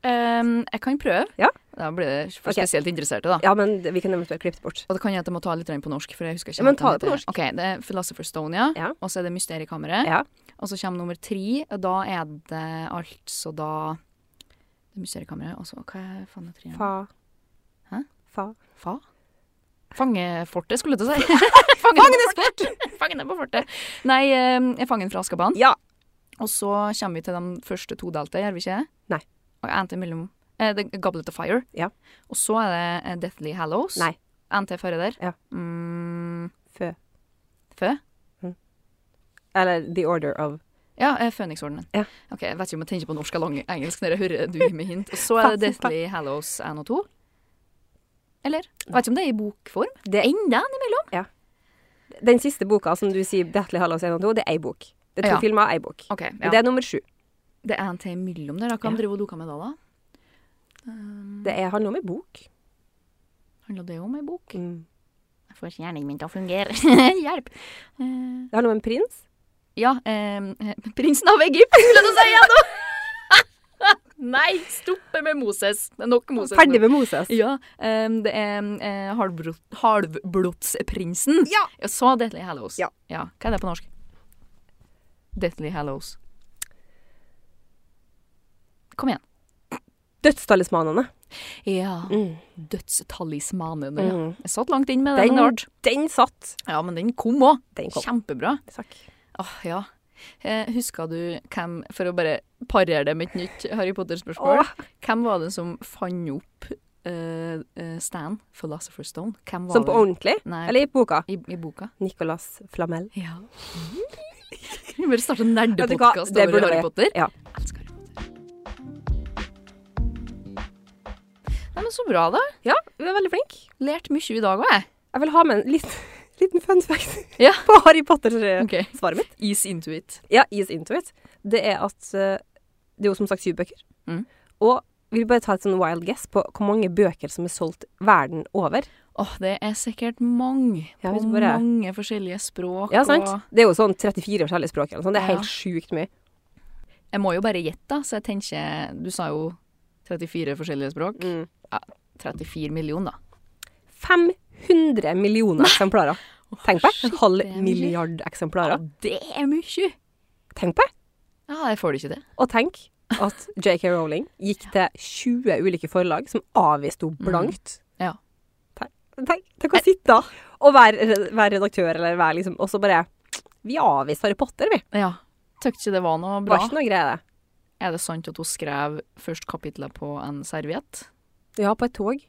Speaker 3: Ehm, jeg kan prøve.
Speaker 2: Ja.
Speaker 3: Da blir det for
Speaker 2: Ok.
Speaker 3: spesielt interesserte, da.
Speaker 2: Ja, men vi kan eventuelt klippe det bort.
Speaker 3: Og det kan jeg at jeg må ta litt grann på norsk, for jeg husker ikke.
Speaker 2: Ja, men
Speaker 3: hva
Speaker 2: ta
Speaker 3: den
Speaker 2: det på
Speaker 3: heter. OK, det er Philosopher's Stone, ja.
Speaker 2: Ja.
Speaker 3: Og så er det Mysteriekammeret.
Speaker 2: Ja.
Speaker 3: Og så kommer nummer tre, og da er det altså da det er Mysteriekammeret, og så Hva faen er treeren?
Speaker 2: Fa.
Speaker 3: Hæ?
Speaker 2: Fa.
Speaker 3: Fa? Fangefortet, skulle jeg til å si. Fangenes fort! Fangene på fortet. Nei, eh, Fangen fra Askaban.
Speaker 2: Ja.
Speaker 3: Og så kommer vi til de første todelte, gjør vi ikke det?
Speaker 2: Nei.
Speaker 3: Og en til mellom eh, The Goblet of Fire.
Speaker 2: Ja.
Speaker 3: Og så er det eh, Deathly Hallows.
Speaker 2: Nei.
Speaker 3: En til før der.
Speaker 2: Ja.
Speaker 3: Mm,
Speaker 2: Fø.
Speaker 3: Fø?
Speaker 2: Eller The Order of
Speaker 3: Ja, eh, Føniksordenen.
Speaker 2: Ja.
Speaker 3: Ok, jeg vet ikke om jeg tenker på norsk eller lang- engelsk når jeg hører du gir meg hint. Og så er det Deathly Hallows 1 og 2. Eller? Jeg vet ikke om det er i bokform.
Speaker 2: Det er
Speaker 3: Enda
Speaker 2: Den siste boka som du sier Deathly Hallows 1 og 2, det er ei bok. Det er to
Speaker 3: Ja.
Speaker 2: filmer, ei bok.
Speaker 3: Ok,
Speaker 2: Men Det er nummer sju.
Speaker 3: Det er en til imellom der. da. Hva
Speaker 2: Ja.
Speaker 3: ja. driver dere med da? da? Mm.
Speaker 2: Det er, handler om ei bok.
Speaker 3: Handler det om ei bok?
Speaker 2: Mm.
Speaker 3: Jeg får ikke hjernen min til å fungere. Hjelp! Eh,
Speaker 2: Det handler om en prins.
Speaker 3: ja, ehm, eh, prinsen av Egypt, skulle du si ja nå! Nei, stoppe med Moses. Det er nok Moses. nå.
Speaker 2: Ferdig med Moses.
Speaker 3: Ja, ehm, det er eh, halvblod, halvblodsprinsen.
Speaker 2: Ja.
Speaker 3: Så Deathly Hallows.
Speaker 2: Ja.
Speaker 3: Hva er det på norsk? Deathly Hallows. Kom igjen.
Speaker 2: Dødstalismanene.
Speaker 3: Ja.
Speaker 2: Mm.
Speaker 3: Dødstalismanen. Ja.
Speaker 2: Mm.
Speaker 3: Jeg satt langt inn med den.
Speaker 2: Den,
Speaker 3: Art.
Speaker 2: den satt.
Speaker 3: Ja, men den kom òg.
Speaker 2: Den kom.
Speaker 3: Kjempebra.
Speaker 2: Takk.
Speaker 3: Åh, ja. Eh, husker du hvem, for å bare parere det med et nytt Harry Potter-spørsmål,
Speaker 2: Åh.
Speaker 3: hvem var det som fant opp eh, eh, Stan, Philosopher's Stone? Hvem var
Speaker 2: Som på
Speaker 3: det?
Speaker 2: ordentlig.
Speaker 3: Nei,
Speaker 2: Eller i boka.
Speaker 3: i, i boka.
Speaker 2: Nicolas Flamel.
Speaker 3: Ja. Vi bør starte en
Speaker 2: Vet du hva?
Speaker 3: nerdepodkast
Speaker 2: Det
Speaker 3: over
Speaker 2: burde
Speaker 3: Harry
Speaker 2: vi.
Speaker 3: Potter.
Speaker 2: Ja.
Speaker 3: Elsker Harry Potter. Nei, men så bra, da.
Speaker 2: Ja, du er veldig flink.
Speaker 3: Lært mye i dag òg, jeg.
Speaker 2: Jeg vil ha med en liten, liten fun fact
Speaker 3: Ja.
Speaker 2: på Harry Potter-svaret
Speaker 3: Ok.
Speaker 2: mitt.
Speaker 3: Ease into it.
Speaker 2: Ja, is into it. Det er at eh, det er jo som sagt syv bøker.
Speaker 3: Mm.
Speaker 2: Og vi vil bare ta et sånn wild guess på hvor mange bøker som er solgt verden over.
Speaker 3: Åh, det er sikkert mange
Speaker 2: Ja,
Speaker 3: på
Speaker 2: hvis bare-
Speaker 3: mange forskjellige språk.
Speaker 2: Ja, sant?
Speaker 3: Og
Speaker 2: Det er jo sånn 34 forskjellige språk eller noe sånt. Det er
Speaker 3: Ja.
Speaker 2: helt sjukt mye.
Speaker 3: jeg må jo bare gjette, da, så jeg tenker Du sa jo 34 forskjellige språk.
Speaker 2: Mm.
Speaker 3: 34 millioner, da.
Speaker 2: 500 millioner eksemplarer. Tenk på det. En halv
Speaker 3: det er mye.
Speaker 2: milliard
Speaker 3: Ja,
Speaker 2: eksemplarer.
Speaker 3: det er mye!
Speaker 2: Tenk på det.
Speaker 3: Ja, jeg får det ikke det.
Speaker 2: Og tenk at JK Rowling gikk til 20 ulike forlag som avviste henne blankt.
Speaker 3: Mm. Ja.
Speaker 2: Tenk, tenk, tenk å sitte og være, være redaktør eller være liksom Og så bare Vi avviste Harry Potter, vi.
Speaker 3: Ja. Tøkte ikke det var noe
Speaker 2: Det
Speaker 3: bra.
Speaker 2: var ikke noe greie, det.
Speaker 3: Er det sant at hun skrev først kapitlet på en serviett?
Speaker 2: Ja, på et tog.
Speaker 3: Det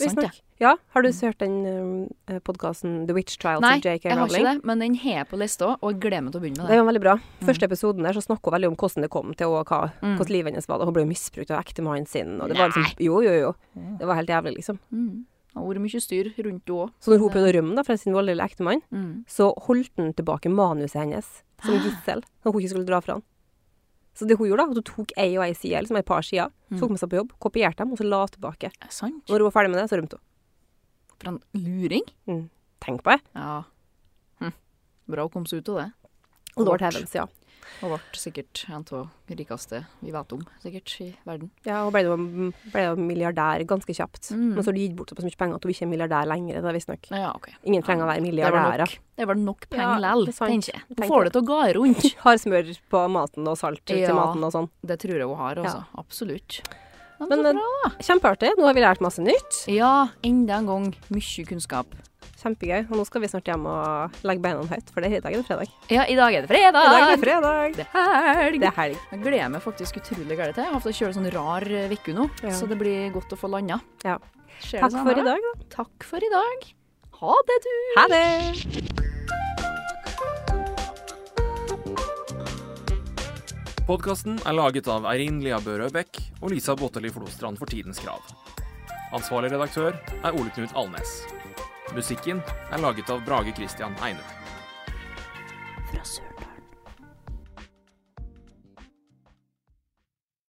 Speaker 3: er sant,
Speaker 2: visstnok.
Speaker 3: det.
Speaker 2: Ja, Har du hørt den podkasten The Witch Trials
Speaker 3: Nei,
Speaker 2: av JK
Speaker 3: jeg har ikke
Speaker 2: Rowling?
Speaker 3: det, Mm. men den har jeg på lista, og jeg gleder meg til å begynne med
Speaker 2: Det
Speaker 3: det.
Speaker 2: var veldig bra. Første episoden der så snakker hun veldig om hvordan det kom til, og hva,
Speaker 3: Mm.
Speaker 2: hvordan livet hennes var. da. Hun ble jo misbrukt av ektemannen sin, og det var liksom Jo, jo, jo. Det var helt jævlig, liksom.
Speaker 3: Mm. Det har vært mye styr rundt henne òg.
Speaker 2: Så når hun prøvde å rømme da, fra sin voldelige ektemann,
Speaker 3: Mm.
Speaker 2: så holdt han tilbake manuset hennes som gissel, når hun ikke skulle dra fra han. Så det hun gjorde, da, at hun tok ei og ei side, liksom et par sider,
Speaker 3: Mm.
Speaker 2: tok med seg på jobb, kopierte dem, og så la tilbake.
Speaker 3: Er det sant?
Speaker 2: Når hun var ferdig med det, så rømte hun.
Speaker 3: For en luring.
Speaker 2: Mm. Tenk på det.
Speaker 3: Ja. Hm. Bra å komme seg ut av det.
Speaker 2: Lord
Speaker 3: Lord.
Speaker 2: Heavens, ja.
Speaker 3: Og ble sikkert en av de rikeste vi vet om, sikkert, i verden.
Speaker 2: ja hun ble jo, ble jo milliardær ganske kjapt.
Speaker 3: Mm.
Speaker 2: Men så har du gitt bort såpass mye penger at hun ikke er milliardær lenger. Det er visstnok.
Speaker 3: Ja, ok.
Speaker 2: Ingen trenger å være
Speaker 3: Det er vel
Speaker 2: milliardærer.
Speaker 3: nok, det er vel nok
Speaker 2: Ja,
Speaker 3: penger lell,
Speaker 2: det er sant.
Speaker 3: tenker jeg. Hun
Speaker 2: Tenker
Speaker 3: får det til å gå rundt.
Speaker 2: Har smør på maten og salt
Speaker 3: Ja.
Speaker 2: til maten og sånn.
Speaker 3: Det tror jeg hun har, altså. Absolutt. Ja,
Speaker 2: Men,
Speaker 3: Men, så
Speaker 2: eh,
Speaker 3: bra.
Speaker 2: Kjempeartig. Nå har vi lært masse nytt.
Speaker 3: ja, enda en gang mye kunnskap.
Speaker 2: Kjempegøy. Og nå skal vi snart hjem og legge beina høyt, for det er i dag er det fredag.
Speaker 3: Ja, i dag er det fredag!
Speaker 2: I dag er det fredag.
Speaker 3: Det er helg!
Speaker 2: Det er helg.
Speaker 3: Jeg gleder meg faktisk utrolig gærent til. Jeg har hatt å kjøre sånn rar uke nå,
Speaker 2: Ja.
Speaker 3: så det blir godt å få landa.
Speaker 2: Ja.
Speaker 3: Skjer det
Speaker 2: Takk
Speaker 3: samme?
Speaker 2: for i dag, da.
Speaker 3: Takk for i dag. Ha det, du!
Speaker 2: Ha det.
Speaker 1: Podkasten er laget av Eirin Lia Børø Bech og Lisa Botteli Flostrand for Tidens Krav. Ansvarlig redaktør er Ole Knut Alnes. Musikken er laget av Brage Christian Eine.
Speaker 3: Fra Sørlandet.